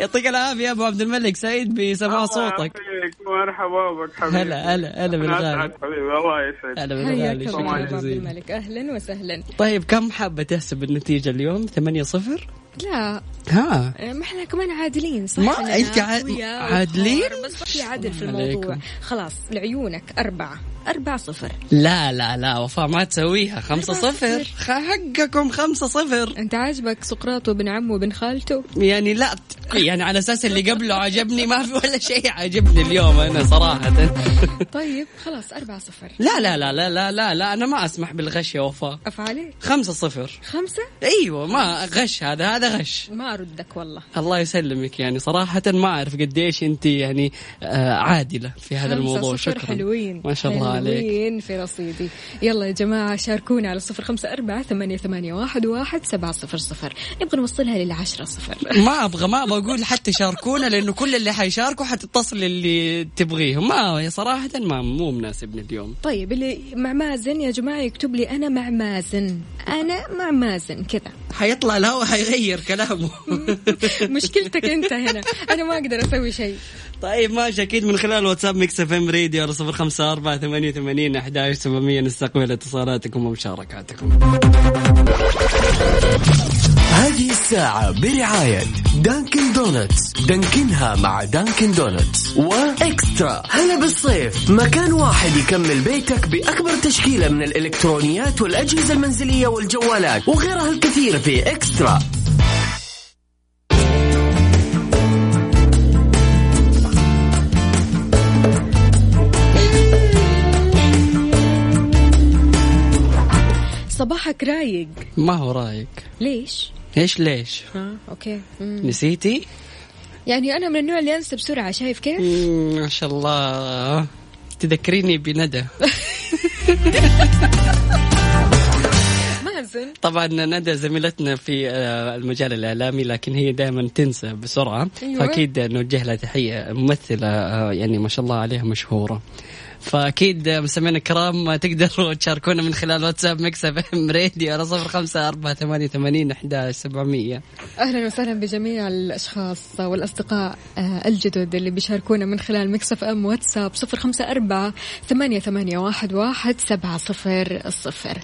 يعطيك العافيه يا ابو عبد الملك سعيد بسماع صوتك يعافيك، مرحبا بك حبيبي هلا هلا هلا أنا بالغالي أسعد حبيبي الله يسعدك هلا حياك بالغالي الله يا شكرا أبو عبد جزيلا الملك اهلا وسهلا طيب كم حابه تحسب النتيجه اليوم 8 0 لا ها ما احنا كمان عادلين صح ما إننا أنت عا- أخويا عادلين؟ وحار، بس ما في عدل في الموضوع عليكم. خلاص لعيونك أربعة أربعة صفر لا لا لا وفاء ما تسويها خمسة صفر حقكم خمسة صفر أنت عاجبك سقراط وابن عمه وابن خالته يعني لا يعني على اساس اللي قبله عجبني ما في ولا شيء عجبني اليوم انا صراحه طيب خلاص أربعة صفر (laughs) لا لا لا لا لا لا, لا انا ما اسمح بالغش يا وفاء أفعليك خمسة صفر خمسة ايوه ما غش هذا هذا غش ما أردك والله الله يسلمك يعني صراحة ما أعرف قديش أنت يعني آه، عادلة في هذا خمسة الموضوع صفر شكرا حلوين ما شاء الله عليك حلوين في رصيدي يلا يا جماعة شاركونا على صفر خمسة أربعة ثمانية, ثمانية واحد, واحد سبعة صفر صفر نبغى نوصلها للعشرة صفر ما ابغى ما ابغى اقول حتى شاركونا لانه كل اللي حيشاركوا حتتصل اللي تبغيهم ما يا صراحه ما مو مناسبني اليوم طيب اللي مع مازن يا جماعة يكتب لي أنا مع مازن أنا مع مازن كذا (laughs) حيطلع الهوا حيغير كلامه (laughs) مشكلتك أنت هنا أنا ما أقدر أسوي شيء طيب ماشي اكيد من خلال واتساب ميكس اف ام راديو على صفر خمسة أربعة ثمانية وثمانين أحد عشر سبعمية نستقبل اتصالاتكم ومشاركاتكم هذه الساعة برعاية دانكن دونتس دانكنها مع دانكن دونتس وإكسترا هلا بالصيف مكان واحد يكمل بيتك بأكبر تشكيلة من الإلكترونيات والأجهزة المنزلية والجوالات وغيرها الكثير في إكسترا صباحك رايق ما هو رايك ليش؟ ايش ليش ها أوكي مم. نسيتي يعني أنا من النوع اللي أنسى بسرعة شايف كيف؟ مم، ما شاء الله تذكريني بندى مازن طبعا ندى زميلتنا في آه، المجال الاعلامي لكن هي دائما تنسى بسرعه أيوة. فاكيد نوجه لها تحيه ممثله آه، يعني ما شاء الله عليها مشهوره فاكيد آه، مستمعينا الكرام آه، تقدروا (laughs) تشاركونا من خلال واتساب ميكس اف ام راديو على صفر خمسة أربعة ثمانية ثمانين أحد سبعمية اهلا وسهلا بجميع الاشخاص والاصدقاء آه، الجدد اللي بيشاركونا من خلال مكسف ام واتساب صفر خمسه اربعه ثمانيه ثمانيه واحد واحد سبعه صفر صفر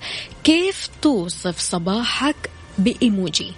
كيف توصف صباحك بايموجي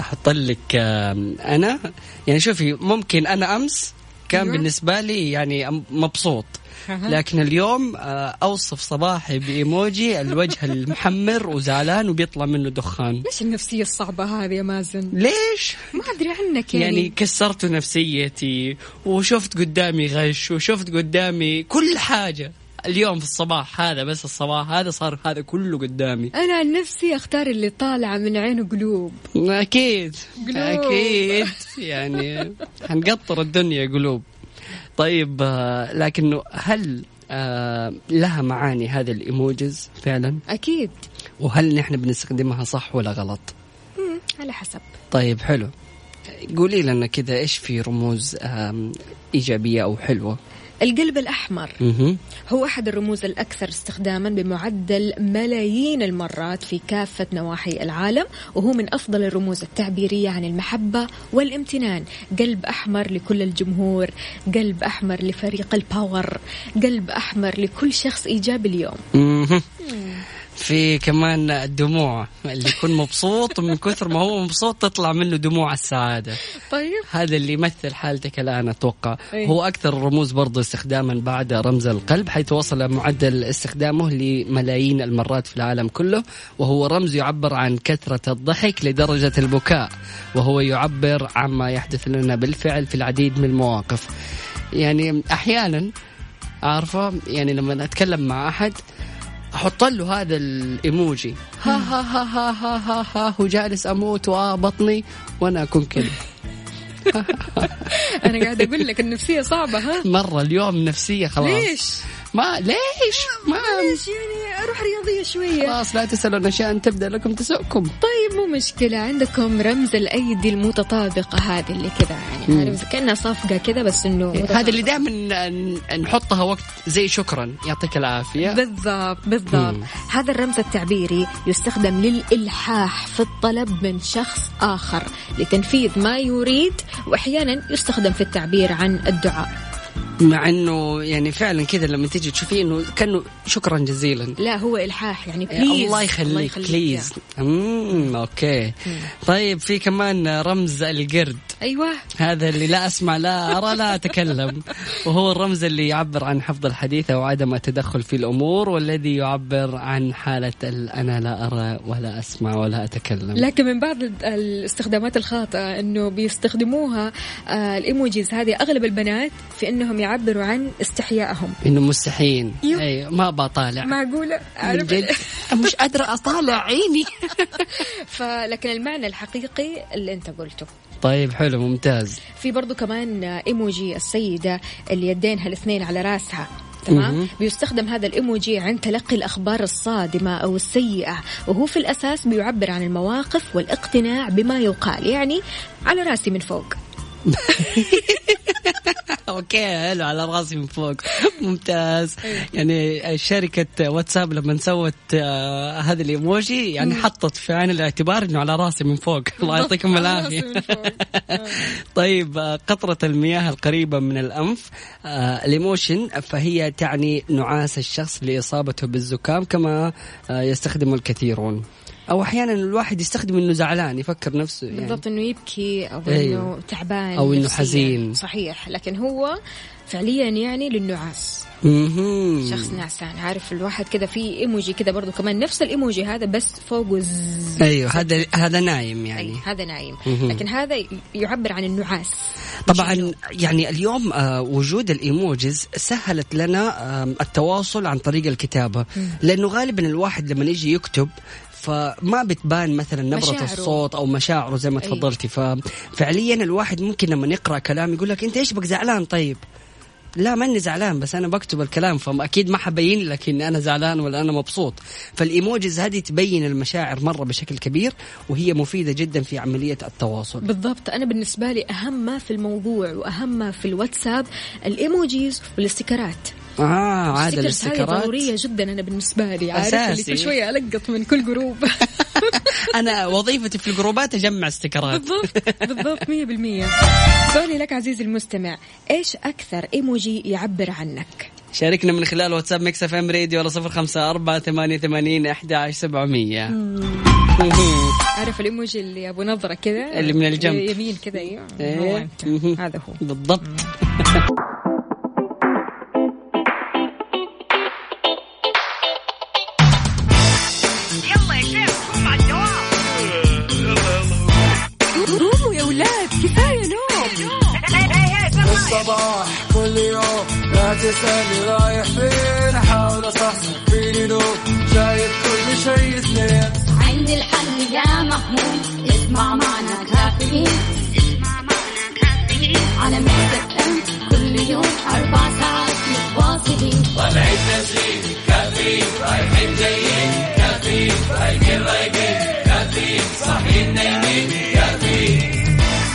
أحط لك آه، أنا يعني شوفي ممكن أنا أمس كان أيوة. بالنسبة لي يعني أم- مبسوط أها. لكن اليوم آه، أوصف صباحي بإيموجي الوجه المحمر وزعلان وبيطلع منه دخان ليش النفسيه الصعبه هذه يا مازن ليش؟ ما ادري عنك يعني, يعني كسرت نفسيتي وشفت قدامي غش وشفت قدامي كل حاجة اليوم في الصباح هذا بس الصباح هذا صار هذا كله قدامي انا عن نفسي اختار اللي طالعه من عين قلوب أكيد قلوب. أكيد يعني هنقطر الدنيا قلوب طيب آه، لكنه هل آه، لها معاني هذه الإيموجيز فعلا اكيد وهل نحن بنستخدمها صح ولا غلط مم، على حسب طيب حلو قولي لنا كذا ايش في رموز آم، ايجابيه او حلوه القلب الاحمر مهم. هو أحد الرموز الأكثر استخداما بمعدل ملايين المرات في كافة نواحي العالم وهو من أفضل الرموز التعبيرية عن المحبة والامتنان قلب أحمر لكل الجمهور قلب أحمر لفريق الباور قلب أحمر لكل شخص إيجابي اليوم مهم. في كمان الدموع اللي يكون مبسوط من كثر ما هو مبسوط تطلع منه دموع السعاده طيب هذا اللي يمثل حالتك الان اتوقع أي. هو اكثر الرموز برضه استخداما بعد رمز القلب حيث وصل معدل استخدامه لملايين المرات في العالم كله وهو رمز يعبر عن كثره الضحك لدرجه البكاء وهو يعبر عما يحدث لنا بالفعل في العديد من المواقف يعني احيانا عارفه يعني لما اتكلم مع احد احط له هذا الايموجي ها ها ها ها ها ها ها وجالس اموت واه بطني وانا اكون كذا أنا قاعدة أقول لك النفسية صعبة ها مرة اليوم نفسية خلاص (laughs) ليش؟ ما ليش؟ ما ليش يعني أروح رياضية شوية خلاص لا تسألون أشياء أن تبدأ لكم تسؤكم طيب مو مشكلة عندكم رمز الأيدي المتطابقة هذه اللي كذا يعني عارف كأنها صفقة كذا بس إنه إيه، هذا اللي دائما نحطها وقت زي شكرا يعطيك العافية بالضبط بالضبط مم. هذا الرمز التعبيري يستخدم للإلحاح في الطلب من شخص آخر لتنفيذ ما يريد وأحيانا يستخدم في التعبير عن الدعاء مع انه يعني فعلا كذا لما تيجي تشوفيه انه كانه شكرا جزيلا لا هو الحاح يعني بليز الله يخليك بليز امم اوكي طيب في كمان رمز القرد ايوه هذا اللي لا اسمع لا ارى لا اتكلم وهو الرمز اللي يعبر عن حفظ الحديث وعدم التدخل في الامور والذي يعبر عن حاله ال- انا لا ارى ولا اسمع ولا اتكلم لكن من بعض ال- الاستخدامات الخاطئة انه بيستخدموها آه، الايموجيز هذه اغلب البنات في انهم يعبروا عن استحيائهم انه مستحيين أيوه. اي ما بطالع معقولة من عارف جد (laughs) مش قادره اطالع عيني فلكن المعنى الحقيقي اللي انت قلته طيب حلو ممتاز في برضو كمان ايموجي السيدة اللي يدينها الاثنين على راسها تمام مهم. بيستخدم هذا الايموجي عند تلقي الاخبار الصادمه او السيئه وهو في الاساس بيعبر عن المواقف والاقتناع بما يقال يعني على راسي من فوق اوكي حلو على راسي من فوق (laughs) ممتاز إيه. يعني شركه واتساب لما سوت آه، هذا الايموجي يعني حطت في عين الاعتبار انه على راسي من فوق (laughs) الله يعطيكم على راسي العافيه من فوق. (laughs) طيب آه، قطرة المياه القريبة من الأنف آه، الإيموشن فهي تعني نعاس الشخص لإصابته بالزكام كما آه، يستخدم الكثيرون أو أحيانا الواحد يستخدم إنه زعلان يفكر نفسه يعني بالضبط انه يبكي او أيوه. انه تعبان أو إنه نفسياً. حزين. صحيح لكن هو فعليا يعني للنعاس مهم. شخص نعسان عارف الواحد كذا في ايموجي كذا برضو كمان نفس الايموجي هذا بس فوقه زز أيوه هذا هذا نايم يعني أي هذا نايم مهم. لكن هذا ي- يعبر عن النعاس طبعا يعني اليوم آه، وجود الايموجيز سهلت لنا آم، التواصل عن طريق الكتابه لانه غالبا الواحد لما يجي يكتب فما بتبان مثلا نبرة مشاعره. الصوت او مشاعره زي ما أيوه. تفضلتي ففعليا الواحد ممكن لما يقرا كلام يقول لك انت ايش بك زعلان طيب لا ماني زعلان بس انا بكتب الكلام فاكيد ما حبين لك اني انا زعلان ولا انا مبسوط فالايموجيز هذه تبين المشاعر مره بشكل كبير وهي مفيده جدا في عمليه التواصل بالضبط انا بالنسبه لي اهم ما في الموضوع واهم ما في الواتساب الايموجيز والاستيكرات اه الستيكرز عاد هذه الاستيكرات ضروريه جدا انا بالنسبه لي عارف اللي أساسي. كل شويه القط من كل جروب (laughs) انا وظيفتي في الجروبات اجمع (laughs) استيكرات بالضبط بالضبط 100% سؤالي لك عزيزي المستمع ايش اكثر ايموجي يعبر عنك شاركنا من خلال واتساب ميكس اف ام راديو على صفر خمسة أربعة ثمانية ثمانين أحد عشر (laughs) سبعمية عارف الايموجي اللي ابو نظره كذا اللي من الجنب. يمين كذا ايوه هو إيه. أنت. مهم. هذا هو بالضبط قوموا يا اولاد كفايه نوم الصباح كل يوم لا تسألني رايح فين أحاول أصحصح فيني لو شايف كل شيء اثنين عندي الحل يا محمود اسمع معنا كافيين اسمع معنا كافيين على ميكس اف ام كل يوم اربع ساعات متواصلين طالعين نازلين كافيين رايحين جايين كافيين رايقين رايقين كافيين صاحيين نايمين كافيين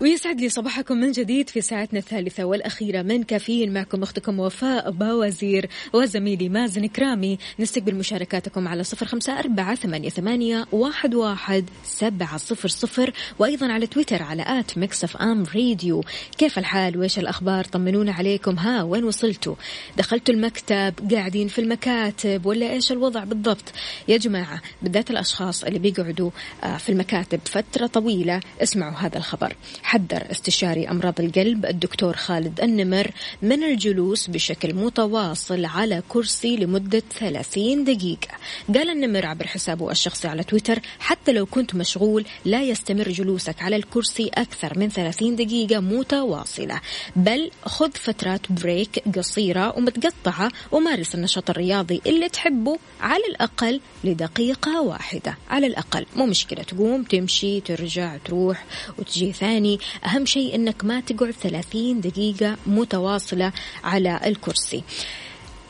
ويسعد لي صباحكم من جديد في ساعتنا الثالثة والأخيرة من كافيين معكم أختكم وفاء باوزير وزميلي مازن كرامي نستقبل مشاركاتكم على صفر خمسة أربعة ثمانية, ثمانية واحد, واحد سبعة صفر صفر وأيضا على تويتر على آت مكسف أم راديو كيف الحال وإيش الأخبار طمنونا عليكم ها وين وصلتوا دخلتوا المكتب قاعدين في المكاتب ولا إيش الوضع بالضبط يا جماعة بالذات الأشخاص اللي بيقعدوا آه، في المكاتب فترة طويلة اسمعوا هذا الخبر حذر استشاري أمراض القلب الدكتور خالد النمر من الجلوس بشكل متواصل على كرسي لمدة 30 دقيقة قال النمر عبر حسابه الشخصي على تويتر حتى لو كنت مشغول لا يستمر جلوسك على الكرسي أكثر من 30 دقيقة متواصلة بل خذ فترات بريك قصيرة ومتقطعة ومارس النشاط الرياضي اللي تحبه على الأقل لدقيقة واحدة على الأقل مو مشكلة تقوم تمشي ترجع تروح وتجي ثاني أهم شيء أنك ما تقعد 30 دقيقة متواصلة على الكرسي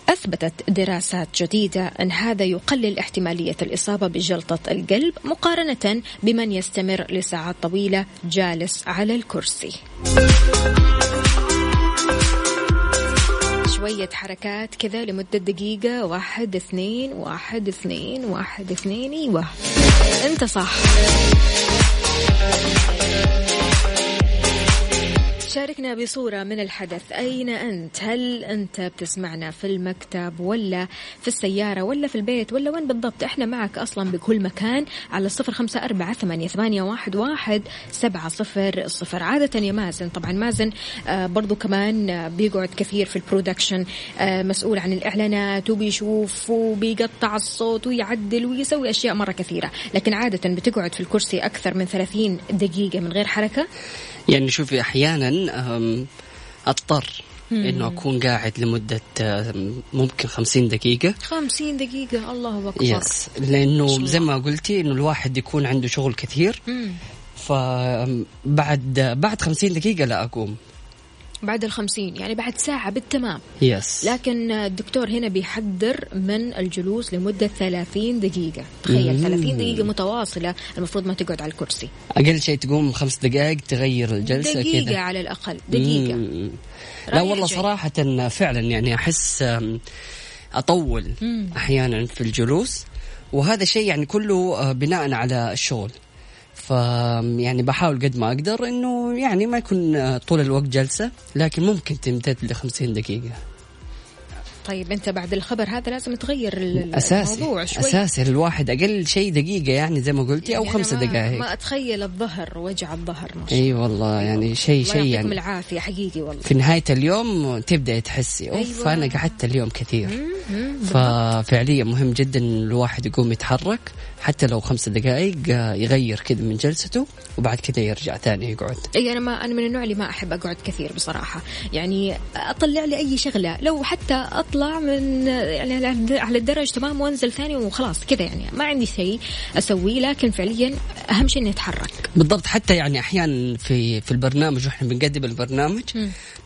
أثبتت دراسات جديدة أن هذا يقلل احتمالية الإصابة بجلطة القلب مقارنة بمن يستمر لساعات طويلة جالس على الكرسي شوية حركات كذا لمدة دقيقة واحد اثنين واحد اثنين واحد اثنين ايوه انت صح شاركنا بصورة من الحدث أين أنت هل أنت بتسمعنا في المكتب ولا في السيارة ولا في البيت ولا وين بالضبط إحنا معك أصلا بكل مكان على الصفر خمسة أربعة ثمانية, ثمانية واحد, واحد سبعة صفر صفر عادة يا مازن طبعا مازن آه برضو كمان آه بيقعد كثير في البرودكشن آه مسؤول عن الإعلانات وبيشوف وبيقطع الصوت ويعدل ويسوي أشياء مرة كثيرة لكن عادة بتقعد في الكرسي أكثر من 30 دقيقة من غير حركة يعني شوفي احيانا أم، اضطر انه اكون قاعد لمده أم، ممكن 50 دقيقه 50 دقيقة الله أكبر يس لانه زي ما قلتي انه الواحد يكون عنده شغل كثير مم. فبعد بعد 50 دقيقه لا اقوم بعد الخمسين يعني بعد ساعة بالتمام يس لكن الدكتور هنا بيحذر من الجلوس لمدة 30 دقيقة تخيل مم. 30 دقيقة متواصلة المفروض ما تقعد على الكرسي اقل شيء تقوم خمس دقائق تغير الجلسه دقيقة كذا على الأقل دقيقة مم. لا رايح والله جاي. صراحة فعلا يعني أحس أم، أطول مم. أحيانا في الجلوس وهذا شيء يعني كله آه، بناء على الشغل ف يعني بحاول قد ما أقدر إنه يعني ما يكون آه، طول الوقت جلسة لكن ممكن تمتد ل 50 دقيقة طيب أنت بعد الخبر هذا لازم تغير ال- ال- أساسي الموضوع شوي أساسي الواحد أقل شيء دقيقة يعني زي ما قلتي أو يعني خمسة أنا ما- دقائق ما أتخيل الظهر وجع الظهر ما شاء أي والله يعني شيء الله الله شيء يعطيكم يعني العافية حقيقي والله في نهاية اليوم تبدأ تحسي أوف أيوة. أنا قعدت اليوم كثير مم. ففعليا مهم جدا إن الواحد يقوم يتحرك حتى لو خمس دقائق آه، يغير كذا من جلسته وبعد كذا يرجع ثاني يقعد اي انا إيه، يعني ما انا من النوع اللي ما احب اقعد كثير بصراحه يعني اطلع لي اي شغله لو حتى اطلع من يعني على- على الدرج تمام وانزل ثاني وخلاص كذا يعني ما عندي شيء اسويه لكن فعليا اهم شيء اني اتحرك بالضبط حتى يعني احيانا في في البرنامج واحنا بنقدم البرنامج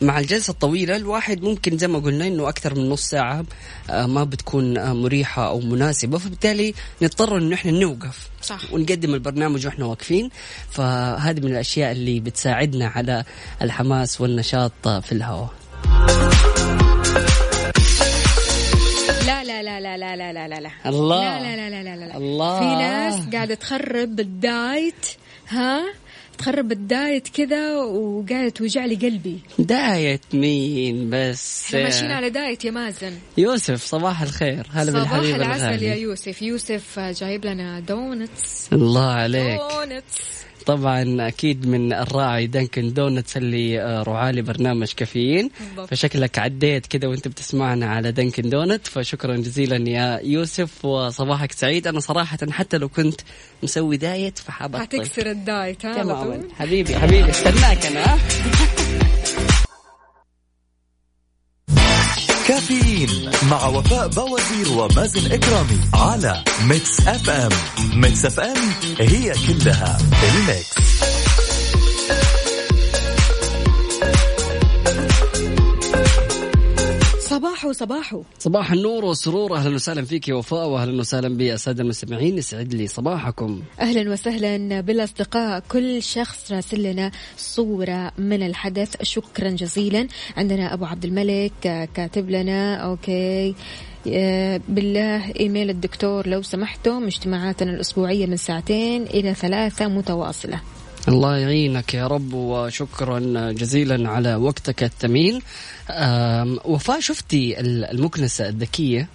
مع الجلسه الطويله الواحد ممكن زي ما قلنا انه اكثر من نص ساعه آه، ما بتكون آه، مريحه او مناسبه فبالتالي نضطر انه احنا نوقف صح. ونقدم البرنامج واحنا واقفين فهذه من الاشياء اللي بتساعدنا على الحماس والنشاط آه، في الهواء لا لا لا لا لا لا لا لا لا الله. لا لا لا لا لا, لا. الله. في ناس قاعده تخرب الدايت ها تخرب الدايت كذا وقاعده توجع لي قلبي دايت مين بس احنا ماشيين على دايت يا مازن يوسف صباح الخير هلا صباح بالحبيب العسل الغالي. يا يوسف يوسف جايب لنا دونتس الله عليك دونتس طبعا اكيد من الراعي دانكن دونتس اللي آه، رعاه لبرنامج كافيين بالضبط. فشكلك عديت كذا وانت بتسمعنا على دانكن دونت فشكرا جزيلا يا يوسف وصباحك سعيد انا صراحه حتى لو كنت مسوي دايت فحابة أطيب. هتكسر الدايت ها على تماما طول. حبيبي حبيبي استناك انا كافيين مع وفاء بوازير ومازن اكرامي على ميكس اف ام ميكس اف ام هي كلها الميكس صباحو صباحو صباح النور والسرور اهلا وسهلا فيك يا وفاء واهلا وسهلا بالساده المستمعين يسعد لي صباحكم اهلا وسهلا بالاصدقاء كل شخص راسل لنا صوره من الحدث شكرا جزيلا عندنا ابو عبد الملك آه، كاتب لنا اوكي آه، بالله ايميل الدكتور لو سمحتم اجتماعاتنا الاسبوعيه من ساعتين الى ثلاثه متواصله الله يعينك يا رب وشكرا جزيلا على وقتك الثمين أم، وفاء شفتي ال- المكنسة الذكية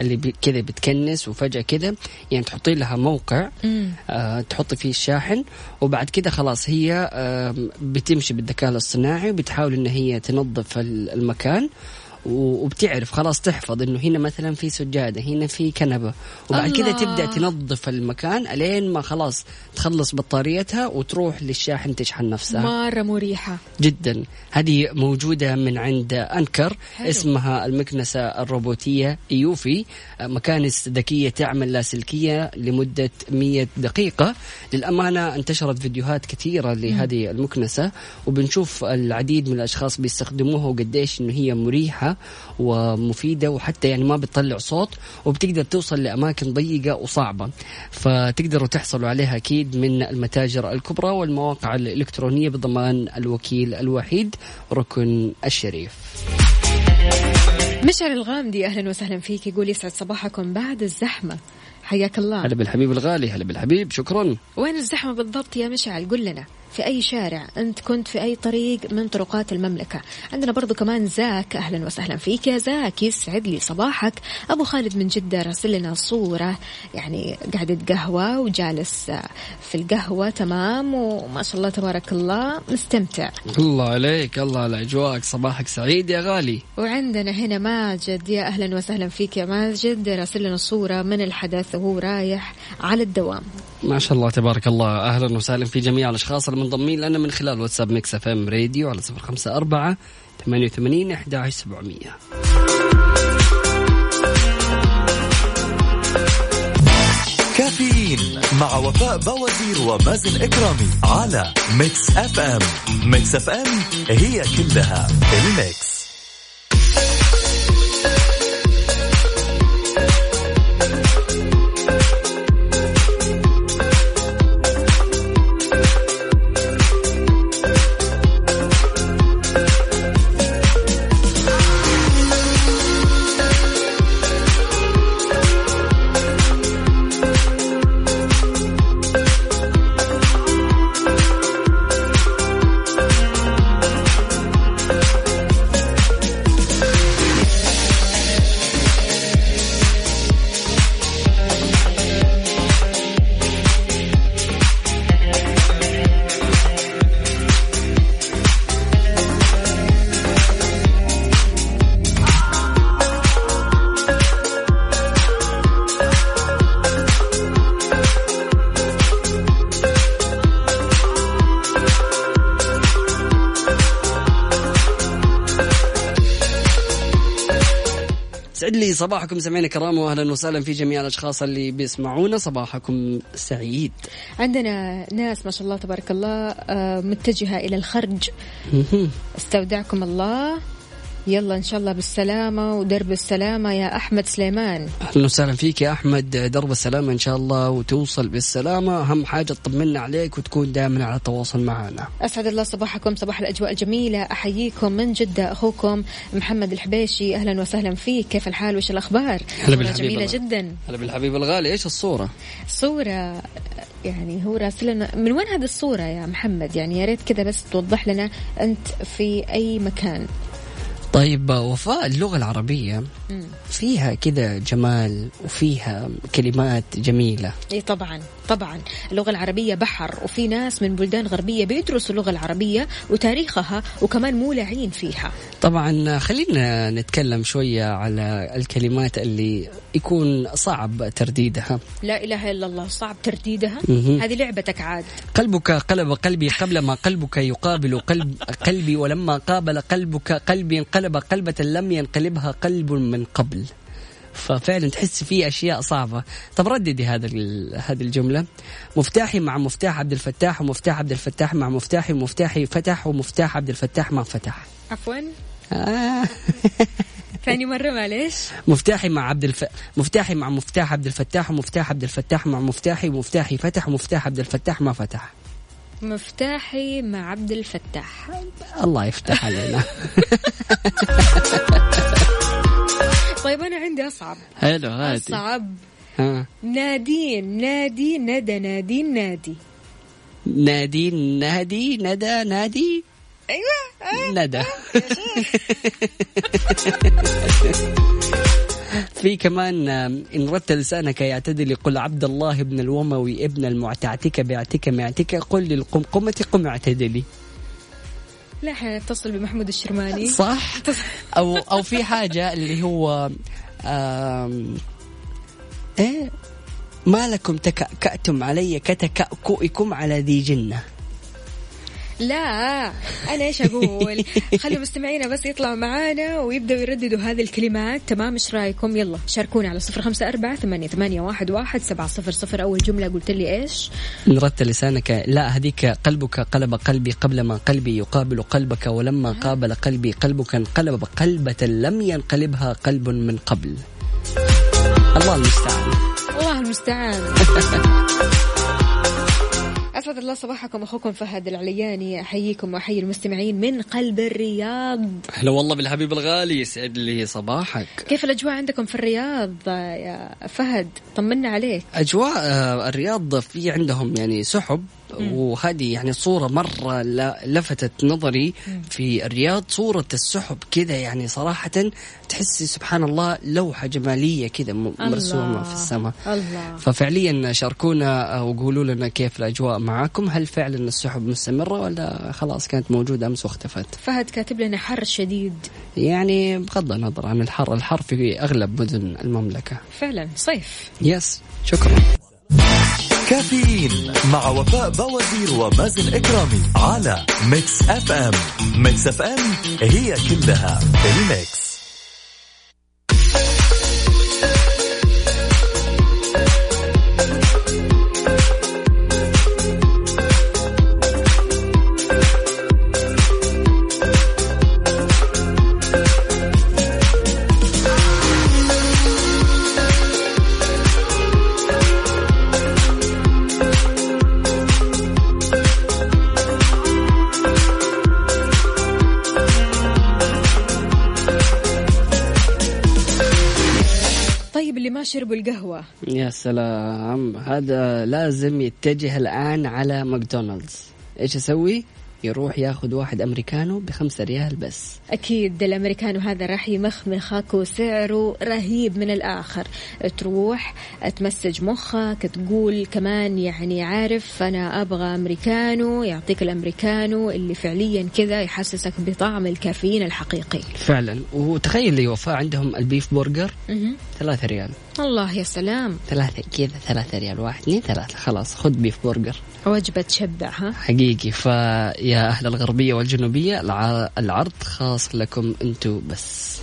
اللي بي- كذا بتكنس وفجأة كذا يعني تحطي لها موقع آه تحطي فيه الشاحن وبعد كذا خلاص هي آم، بتمشي بالذكاء الاصطناعي وبتحاول ان هي تنظف ال- المكان و- وبتعرف خلاص تحفظ انه هنا مثلا في سجاده هنا في كنبه وبعد كذا الله. تبدا تنظف المكان الين ما خلاص تخلص بطاريتها وتروح للشاحن تشحن نفسها مره مريحه جدا هذه موجودة من عند أنكر حلو. حلو. اسمها المكنسة الروبوتية يوفي مكانس ذكية تعمل لاسلكية لمدة 100 دقيقة للأمانة انتشرت فيديوهات كثيرة لهذه المكنسة وبنشوف العديد من الأشخاص بيستخدموها وقديش إنه هي مريحة ومفيدة وحتى يعني ما بتطلع صوت وبتقدر توصل لأماكن ضيقة وصعبة فتقدروا تحصلوا عليها أكيد من المتاجر الكبرى والمواقع الإلكترونية بضمان الوكيل الوحيد ركن الشريف مشعل الغامدي اهلا وسهلا فيك يقول يسعد صباحكم بعد الزحمه حياك الله هلا بالحبيب الغالي هلا بالحبيب شكرا وين الزحمه بالضبط يا مشعل قل لنا في اي شارع انت كنت في اي طريق من طرقات المملكه عندنا برضو كمان زاك اهلا وسهلا فيك يا زاك يسعد لي صباحك ابو خالد من جده راسل لنا صوره يعني قاعده قهوه وجالس في القهوه تمام وما شاء الله تبارك الله مستمتع الله عليك الله على اجواءك صباحك سعيد يا غالي وعندنا هنا ماجد يا اهلا وسهلا فيك يا ماجد راسل لنا صوره من الحدث وهو رايح على الدوام ما شاء الله تبارك الله اهلا وسهلا في جميع الاشخاص المنضمين لنا من خلال واتساب ميكس اف ام راديو على 054 88 11700 كافيين مع وفاء بوازير ومازن اكرامي على ميكس اف ام ميكس اف ام هي كلها الميكس سعد لي صباحكم سمعنا كرام واهلا وسهلا في جميع الاشخاص اللي بيسمعونا صباحكم سعيد عندنا ناس ما شاء الله تبارك الله آه، متجهه الى الخرج استودعكم الله يلا ان شاء الله بالسلامه ودرب السلامه يا احمد سليمان اهلا وسهلا فيك يا احمد درب السلامه ان شاء الله وتوصل بالسلامه اهم حاجه تطمنا عليك وتكون دائما على تواصل معنا اسعد الله صباحكم صباح الاجواء الجميله احييكم من جده اخوكم محمد الحبيشي اهلا وسهلا فيك كيف الحال وش الاخبار هلا بالحبيب جميله الله. جدا هلا بالحبيب الغالي ايش الصوره صورة يعني هو راسلنا من وين هذه الصورة يا محمد يعني يا ريت كذا بس توضح لنا أنت في أي مكان طيب وفاء اللغه العربيه فيها كذا جمال وفيها كلمات جميله اي طبعا طبعا اللغه العربيه بحر وفي ناس من بلدان غربيه بيدرسوا اللغه العربيه وتاريخها وكمان مولعين فيها طبعا خلينا نتكلم شويه على الكلمات اللي يكون صعب ترديدها لا اله الا الله صعب ترديدها مهم. هذه لعبتك عاد قلبك قلب قلبي قبلما قلبك يقابل قلب قلبي ولما قابل قلبك قلبي انقلب قلبة لم ينقلبها قلب من قبل ففعلا تحس في اشياء صعبه طب رددي هذا ال- هذه الجمله مفتاحي مع مفتاح عبد الفتاح ومفتاح عبد الفتاح مع مفتاحي ومفتاحي فتح ومفتاح عبد الفتاح مع فتح عفوا آه. ثاني مرة معليش مفتاحي مع عبد الف... مفتاحي مع مفتاح عبد الفتاح ومفتاح عبد الفتاح مع مفتاحي ومفتاحي فتح ومفتاح عبد الفتاح ما فتح مفتاحي مع عبد الفتاح الله يفتح علينا طيب أنا عندي أصعب حلو هادي أصعب ها. نادين نادي ندى نادين نادي نادي نادي ندى نادي أيوة ندى (laughs) في كمان آم، إن ردت لسانك يعتدل قل عبد الله بن الوموي ابن المعتعتك بعتك معتك قل للقمقمة قم اعتدلي لا احنا نتصل بمحمود الشرماني صح او او في حاجه اللي هو آم ايه ما لكم تكأكأتم علي كتكأكؤكم على ذي جنة لا انا ايش اقول خلوا مستمعينا بس يطلعوا معانا ويبداوا يرددوا هذه الكلمات تمام ايش رايكم يلا شاركونا على صفر خمسه اربعه ثمانيه, ثمانية واحد, واحد سبعه صفر صفر اول جمله قلت لي ايش إن ردت لسانك لا هديك قلبك قلب قلبي قبل ما قلبي يقابل قلبك ولما قابل قلبي قلبك انقلب قلبة لم ينقلبها قلب من قبل الله المستعان الله المستعان اسعد يسعد الله صباحكم اخوكم فهد العلياني احييكم واحيي المستمعين من قلب الرياض هلا والله بالحبيب الغالي يسعد لي صباحك كيف الاجواء عندكم في الرياض يا فهد طمنا عليك اجواء آه، الرياض في عندهم يعني سحب وهذه يعني صورة مرة لا- لفتت نظري في الرياض صورة السحب كذا يعني صراحة تحسي سبحان الله لوحة جمالية كذا م- مرسومة في السماء الله ففعليا شاركونا آه، وقولوا لنا كيف الأجواء معاكم هل فعلا السحب مستمرة ولا خلاص كانت موجودة أمس واختفت فهد كاتب لنا حر شديد يعني بغض النظر عن الحر الحر في أغلب مدن المملكة فعلا صيف يس شكرا كافيين مع وفاء بوازير ومازن اكرامي على ميكس اف ام ميكس اف ام هي كلها الميكس طيب اللي ما شربوا القهوه يا سلام هذا لازم يتجه الآن على ماكدونالدز إيش أسوي؟ يروح ياخذ واحد أمريكانو بخمسة ريال بس اكيد الامريكان وهذا راح يمخمخك وسعره رهيب من الاخر تروح تمسج مخك تقول كمان يعني عارف انا ابغى امريكانو يعطيك الامريكانو اللي فعليا كذا يحسسك بطعم الكافيين الحقيقي فعلا وتخيل لي وفاء عندهم البيف برجر مهم. ثلاثة ريال الله يا سلام ثلاثة كذا ثلاثة ريال واحد اثنين ثلاثة خلاص خذ بيف برجر وجبة تشبع ها حقيقي فيا أهل الغربية والجنوبية الع- العرض خاص لكم أنتو بس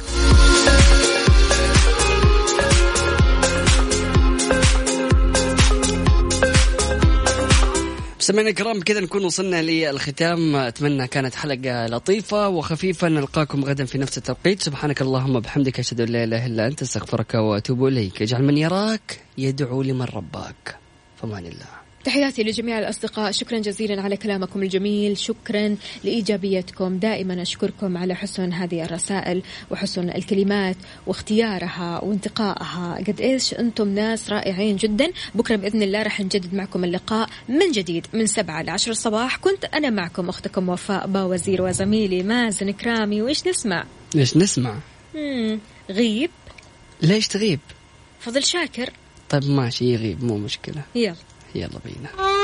مستمعينا الكرام كذا نكون وصلنا للختام اتمنى كانت حلقه لطيفه وخفيفه نلقاكم غدا في نفس التوقيت سبحانك اللهم وبحمدك اشهد ان لا اله الا انت استغفرك واتوب اليك اجعل من يراك يدعو لمن رباك فمان الله تحياتي لجميع الأصدقاء شكرا جزيلا على كلامكم الجميل شكرا لإيجابيتكم دائما أشكركم على حسن هذه الرسائل وحسن الكلمات واختيارها وانتقائها قد إيش أنتم ناس رائعين جدا بكرة بإذن الله رح نجدد معكم اللقاء من جديد من سبعة لعشر الصباح كنت أنا معكم أختكم وفاء باوزير وزميلي مازن كرامي وإيش نسمع ليش نسمع مم. غيب ليش تغيب فضل شاكر طيب ماشي يغيب مو مشكله يلا يلا بينا